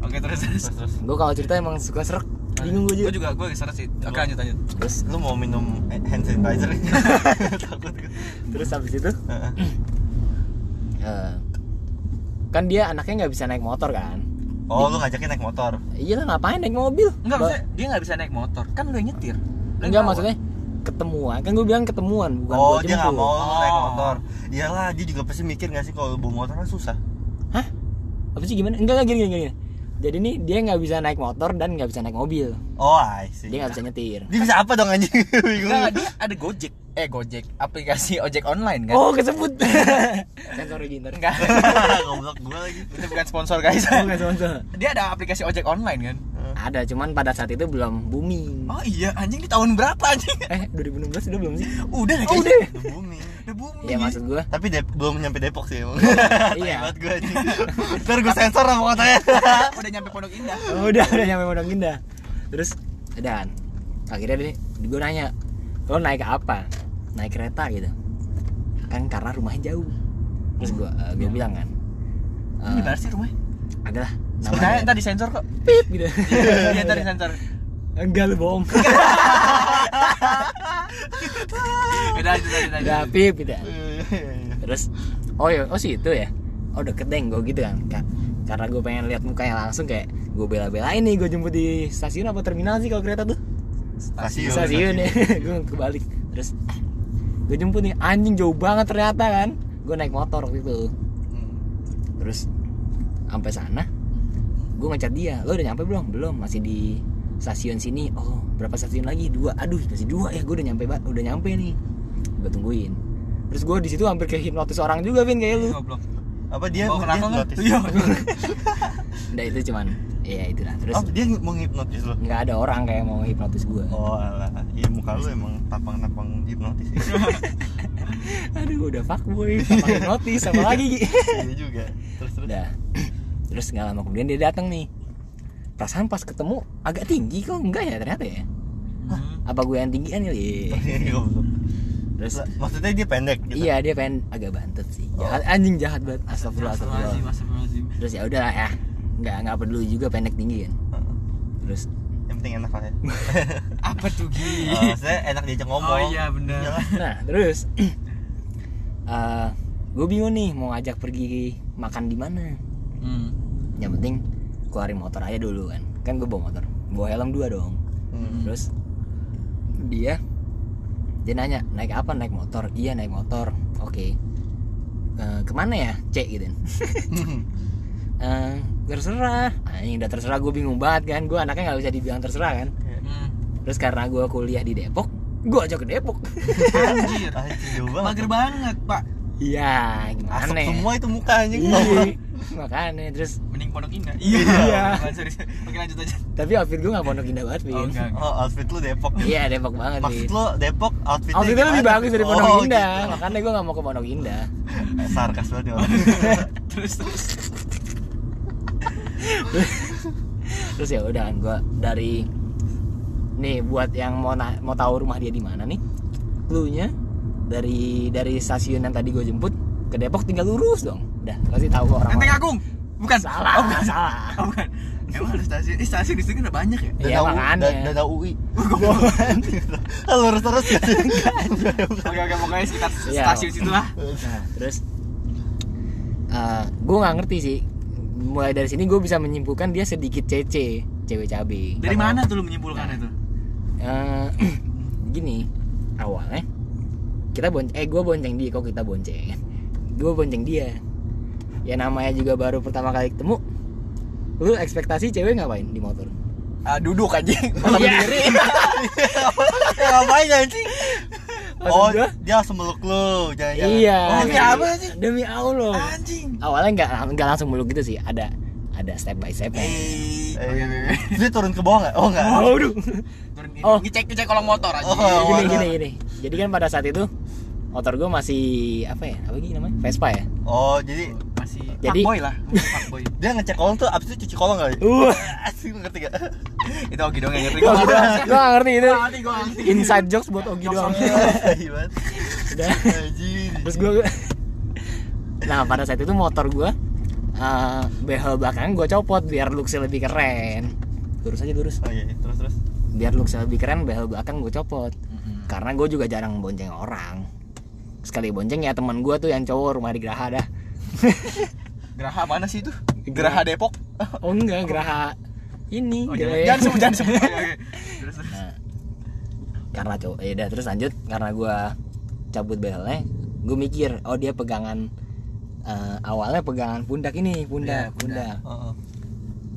A: Oke, terus terus.
C: Terus, terus.
B: gue kalau cerita emang suka serak bingung gue
A: Gue
B: juga
A: juga, gue geser sih. Oke, lanjut lanjut.
B: terus
C: Lu mau minum hand sanitizer? Takut gue.
B: terus habis itu
C: Heeh.
B: eh, kan dia anaknya nggak bisa naik motor kan
C: Oh, lu ngajakin naik motor.
B: iya lah ngapain naik mobil
A: Enggak,
B: Ba-
A: maksudnya dia nggak bisa naik motor. Kan lu yang nyetir. Lu yang
B: enggak
A: bawa.
B: maksudnya ketemuan kan gue bilang ketemuan bukan
C: oh,
B: gua
C: dia nggak
B: jemput.
C: mau lu naik
A: Oh.
C: motor. Iyalah, dia juga pasti mikir nggak sih kalau lu bawa motor kan susah.
B: hah apa sih gimana enggak enggak gini gini, gini. jadi nih dia nggak bisa naik motor dan nggak bisa naik mobil
C: Oh, I see.
B: dia
C: Dia,
B: nggak bisa nyetir
C: bisa apa dong anjing? Bingung.
A: Enggak, dia ada Gojek. Eh, Gojek. Aplikasi ojek online kan?
B: Oh, kesebut. Sensor lagi ntar.
A: Enggak.
C: Goblok gua lagi.
A: Itu bukan sponsor, guys.
B: Bukan sensor.
A: Dia ada aplikasi ojek online kan?
B: Ada, cuman pada saat itu belum booming.
A: Oh iya, anjing di tahun berapa anjing?
B: Eh, 2016 udah belum sih?
A: Udah lah
B: Oh,
A: kayaknya.
B: udah.
C: Udah booming.
A: Udah booming.
B: Iya, maksud gua.
C: Tapi Dep- belum nyampe Depok sih emang.
B: Iya.
C: Hebat gua anjing. Ntar gua sensor sama kotanya.
A: udah nyampe Pondok Indah.
B: Oh, udah, udah nyampe Pondok Indah. Terus dan akhirnya deh gue nanya, "Lo naik apa?" Naik kereta gitu. Kan karena rumahnya jauh. Terus gua eh, gua bilang kan.
A: Ini di mana sih rumahnya?
B: adalah
A: Udah,
B: Ah. namanya
A: ntar disensor kok.
B: pip gitu.
A: Iya, ntar disensor.
B: Enggak lu bohong.
A: Udah lanjut lanjut lanjut.
B: Enggak pip gitu ya. tidak.
C: Iya.
B: Terus oh ya, oh sih itu ya. Oh deket deng gue gitu kan. Ka- Karena gue pengen lihat mukanya langsung kayak gue bela-belain nih gue jemput di stasiun apa terminal sih kalau kereta tuh?
C: Stasiun.
B: Stasiun ya. gue kebalik. Terus gue jemput nih anjing jauh banget ternyata kan. Gue naik motor waktu itu.
C: Hmm.
B: Terus sampai sana gue ngecat dia lo udah nyampe belum belum masih di stasiun sini oh berapa stasiun lagi dua aduh masih dua ya gue udah nyampe Ba- udah nyampe nih gue tungguin terus gue di situ hampir kehipnotis orang juga Vin kayak lu
A: Goblok.
C: Apa dia
A: Oh, kenapa kan?
C: dia hipnotis?
A: Iya.
B: udah itu cuman ya itulah terus
C: Oh, dia mau ngehipnotis lo.
B: nggak ada orang kayak mau hipnotis gue
C: Oh, alah. Iya, muka lu emang tapang-tapang hipnotis. ya.
B: aduh udah fuckboy sama hipnotis sama lagi
C: Iya juga. Terus terus.
B: udah terus nggak lama kemudian dia datang nih perasaan pas ketemu agak tinggi kok enggak ya ternyata ya apa gue yang tinggian kali ya
C: Iya, Goblok.
B: terus
C: Maksudnya dia pendek gitu.
B: Iya dia pengen agak bantut sih.
C: Oh.
B: Jahat, anjing jahat banget. Astagfirullah
A: Astagfirullahaladzim,
B: astagfirullah.
A: astagfirullahaladzim.
B: Terus ya udahlah ya. Nggak nggak peduli juga pendek tinggi kan.
C: Heeh.
B: Terus
C: Yang penting enak lah ya.
A: Apa tuh Gi?
C: Oh, saya enak diajak ngomong.
A: Iya. Oh, iya, bener.
C: Iyalah.
B: nah terus eh gue bingung nih mau ngajak pergi makan di mana.
A: Hmm.
B: Yang penting keluarin motor aja dulu kan. Kan gue bawa motor. Bawa helm dua dong.
C: Hmm.
B: Terus dia dia nanya naik apa naik motor iya naik motor oke Eh, kemana ya cek gitu Eh, terserah anjing udah terserah gue bingung banget kan gue anaknya nggak bisa dibilang terserah kan
A: Hmm.
B: terus karena gue kuliah di Depok gue ajak ke Depok
A: Anjir.
C: Ah, itu jauh banget.
A: Mager banget, Pak.
B: iya
C: Asap
B: gimana ya?
C: semua itu muka anjing.
B: Iya, makanya terus
A: Mending Pondok Indah.
B: Iya.
A: Bukan, sorry, sorry. Oke, lanjut aja.
B: tapi outfit gue nggak pondok indah banget Vin
A: Oh, enggak.
C: Oh, outfit lu Depok.
B: iya Depok banget
C: Maksud
B: Vin
C: lu Depok outfitnya
B: outfitnya lebih
C: gimana?
B: bagus dari pondok
C: Oh,
B: indah
C: gitu.
B: makanya gue nggak mau ke pondok indah
C: Eh, Sarkas banget ya orang.
A: Terus terus.
B: terus ya udah kan gue dari nih buat yang mau na- mau tahu rumah dia di mana nih cluenya dari dari stasiun yang tadi gue jemput ke Depok tinggal lurus dong udah kasih tahu ke orang
A: Enteng Agung. Bukan.
B: salah
A: Oh, bukan.
B: salah
A: Oh, bukan. Emang ada stasiun. Eh, stasiun di sini kan ada banyak ya?
B: Iya,
C: Dadau-
B: makanya.
C: da- Dadau UI. Lurus terus ya.
A: Oke, oke, pokoknya sekitar
B: Iya.
A: stasiun situ lah.
B: Nah, terus gue nggak ngerti sih. Mulai dari sini gue bisa menyimpulkan dia sedikit cece, cewek cabe.
A: Dari mana tuh lu menyimpulkan itu?
B: Eh, gini, awalnya kita bonceng, eh gue bonceng dia, kok kita bonceng? Gue bonceng dia. Ya namanya juga baru pertama kali ketemu. Lu ekspektasi cewek ngapain di motor?
A: Ah, duduk anjing. Eh,
B: Iya.
C: Ngapain anjing?
B: Maksud
C: Oh,
B: gua,
C: dia langsung meluk lu. Jangan-jangan.
B: iya.
A: Oh,
B: kayak
A: iya apa
B: gitu.
A: sih?
B: Demi Allah.
A: Anjing.
B: Awalnya nggak nggak langsung meluk gitu sih, ada ada step by step.
A: Eh.
C: Eh,
A: Oke, oke, oke.
C: Dia turun ke bawah nggak? Oh nggak.
B: Waduh.
A: Turun ini.
B: Oh.
A: Ngecek ngecek kolong motor aja.
C: Oh. Warna.
B: gini gini gini jadi kan pada saat itu motor gue masih apa ya apa gini namanya Vespa ya
C: Oh jadi
A: Masih
B: Jadi-
A: fuckboy lah. Fuckboy.
C: dia ngecek kolong tuh abis itu cuci kolong kali.
B: uh
C: Asik lu ngerti gak?
A: itu oke dong yang ngerti.
B: gue gak ngerti itu
A: Gua ngerti, gua ngerti.
B: inside jokes buat Ogi doang
C: Iya banget.
B: Udah.
C: Anjing.
B: terus gue nah pada saat itu motor gue eh behel belakang gue copot biar looksnya lebih keren lurus aja lurus
C: Oke, Oh, iya, terus terus.
B: biar looksnya lebih keren behel belakang gue copot karena gue juga jarang bonceng orang sekali bonceng ya teman gue tuh yang cowok rumah di Graha dah
A: Geraha mana sih itu? Geraha Depok.
B: oh enggak Graha ini
A: Oh,
B: Graha-
A: jangan, jangan sebut, jangan sebut. Oke, oke. Terus, terus.
B: Nah, karena cowok ya udah terus lanjut karena gua cabut belnya gue mikir oh dia pegangan eh, awalnya pegangan pundak ini pundak
A: Iya, pundak.
B: pundak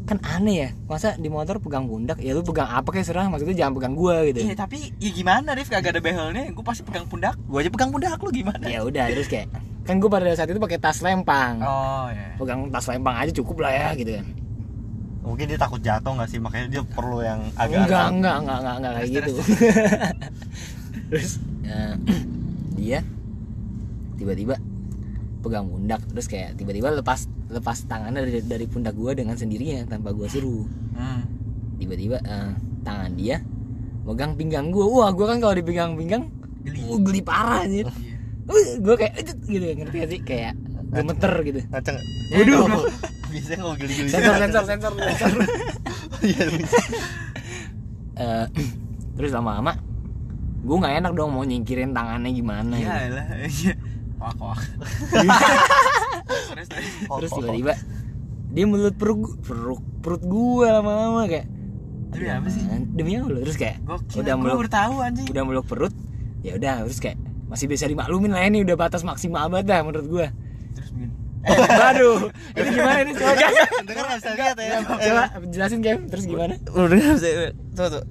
B: kan aneh ya masa di motor pegang pundak ya lu pegang apa kayak serah maksudnya jangan pegang gua
A: Iya
B: gitu
A: tapi ya gimana Rif kagak ada behelnya Gue pasti pegang pundak Gue aja pegang pundak lu gimana
B: ya udah terus kayak kan gue pada saat itu pakai tas lempang
A: Oh ya
B: pegang tas lempang aja cukup lah ya gitu kan
C: Mungkin dia takut jatuh nggak sih makanya dia perlu yang agak.
B: enggak enggak enggak enggak enggak kayak
A: Terus,
B: gitu terus eh, dia tiba-tiba pegang pundak terus kayak tiba-tiba lepas lepas tangannya dari, dari pundak gua dengan sendirinya tanpa gua suruh
A: hmm.
B: tiba-tiba eh, tangan dia megang pinggang gua wah gua kan kalau dipegang pinggang
A: Geli.
B: geli, geli parah anjir
A: Iya.
B: Wah, gua kayak "Ujut," gitu ngerti gak sih kayak gemeter gitu
C: Ngaceng.
B: Waduh.
C: Biasanya kalau geli-geli.
B: sensor sensor sensor sensor
C: Iya, bisa.
B: Eh, eh, terus lama-lama gue nggak enak dong mau nyingkirin tangannya gimana
A: Iya
B: gitu.
A: lah. Iya. Wah, wah. Terus terus.
B: terus tiba-tiba dia mulut perut gu- perut perut gue lama-lama kayak
A: Demi
B: "Aduh,
A: apa sih?"
B: apaan? demi Allah terus kayak
A: Gokil.
B: Iya. udah
A: Udah
B: meluk
A: baru tahu anjing.
B: udah meluk perut ya udah terus kayak masih bisa dimaklumin lah ini udah batas maksimal banget dah menurut gue
A: Terus begini.
B: Waduh, ini gimana ini coba guys?
C: Dengar nggak bisa lihat ya.
B: Coba jelasin game terus gimana?
A: Lu dengar saya tuh tuh.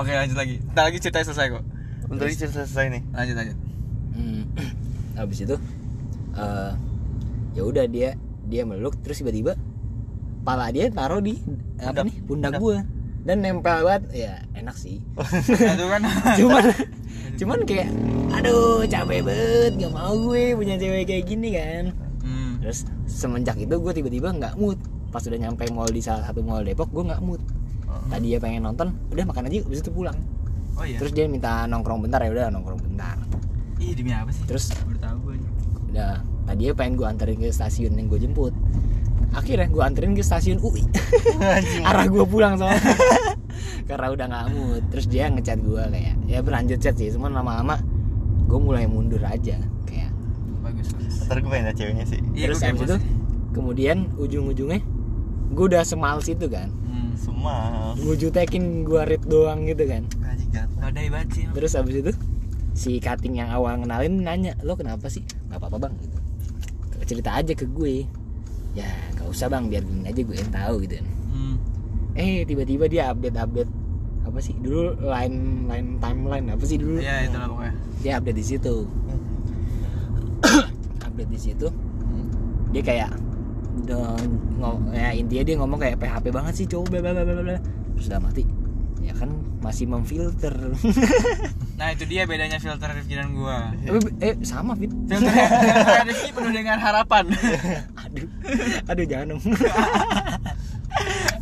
A: Oke, lanjut lagi. Entar lagi ceritanya selesai kok.
C: Untuk ini cerita selesai nih.
A: Lanjut lanjut.
B: Hmm, habis itu eh ya udah dia dia meluk terus tiba-tiba pala dia taruh di
A: Pundak.
B: apa nih pundak gua dan nempel banget ya enak sih
A: Nah, itu kan.
B: cuman cuman kayak aduh capek banget gak mau gue punya cewek kayak gini kan
A: Hmm.
B: terus semenjak itu gue tiba-tiba nggak mood pas udah nyampe mall di salah satu mall Depok gue nggak mood
A: Hmm.
B: tadi dia pengen nonton udah makan aja habis itu pulang
A: Oh iya.
B: terus dia minta nongkrong bentar ya udah nongkrong bentar
A: Ih, demi apa sih?
B: terus
A: Baru tahu gue.
B: udah tadinya Nah, pengen gue anterin ke stasiun yang gue jemput akhirnya gue anterin ke stasiun UI arah gue pulang soalnya karena udah nggak mood terus dia ngechat gue kayak ya berlanjut chat sih cuman lama-lama gue mulai mundur aja kayak
A: Bagus. bagus.
C: Ntar gue pengen lihat ceweknya sih.
A: Iya,
B: terus
A: gue
B: habis
A: kepo
B: itu
A: sih.
B: kemudian ujung-ujungnya gue udah semals itu kan
A: Hmm.
C: Semua.
B: gue jutekin gue read doang gitu kan
C: Anjing gatel.
A: Badai banget sih.
B: terus habis itu si cutting yang awal ngenalin nanya lo kenapa sih nggak apa-apa bang gitu. cerita aja ke gue ya nggak usah bang biar gini aja gue yang tahu gitu kan.
A: Hmm.
B: eh tiba-tiba dia update update apa sih dulu line line timeline apa sih dulu
A: Iya, itulah pokoknya.
B: dia update di situ update di situ
A: Hmm.
B: dia kayak udah ngo- ya intinya dia ngomong kayak PHP banget sih cowok bla bla bla bla bla terus udah mati ya kan masih memfilter
A: Nah, itu dia bedanya filter Rifki dan gua.
B: Eh, eh sama fit
A: Filter filter Rifki penuh dengan harapan.
B: aduh aduh jangan dong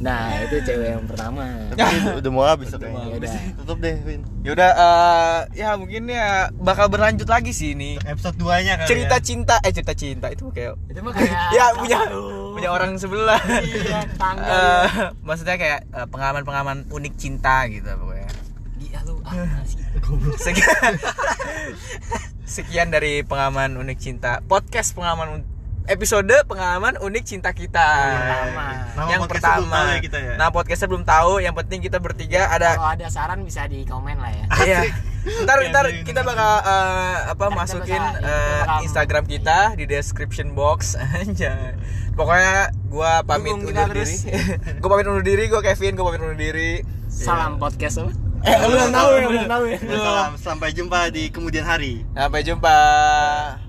B: nah itu cewek yang pertama
C: Udah, udah mau habis
A: Udah mau
C: kayaknya.
A: habis.
C: Tutup deh, Win.
A: Yaudah, eh, ya mungkin ya bakal berlanjut lagi sih ini.
C: Episode 2-nya kali. ya.
A: cerita cinta eh cerita cinta itu kayak
B: itu mah kayak
A: ya punya punya orang sebelah
B: Iya, tetangga.
A: Eh, maksudnya kayak eh, pengalaman-pengalaman unik cinta gitu pokoknya
B: dia lu apa sih
A: sekian, sekian dari pengalaman unik cinta podcast pengalaman un- episode pengalaman unik cinta kita
B: Iya, pertama.
C: Nama
A: yang
C: podcastnya belum
A: pertama
C: tahu ya kita ya. Oh,
A: nah podcastnya belum tahu yang penting kita bertiga ada
B: kalau ada saran bisa di komen lah ya
A: Iya. Ntar
C: Oke,
A: ntar
C: beli,
A: kita
C: beli.
A: bakal eh, apa
B: Ntar kita
A: masukin
B: bakal,
A: eh,
B: Instagram.
A: Instagram kita di description box aja. Pokoknya gua pamit
B: Dukung kita
A: undur
B: terus.
A: diri. gua pamit undur diri, gua Kevin, gua pamit undur diri.
B: salam podcast apa
A: Eh, lu belum tahu ya, belum
B: tahu ya
C: Salam, sampai jumpa di kemudian hari.
A: Sampai jumpa.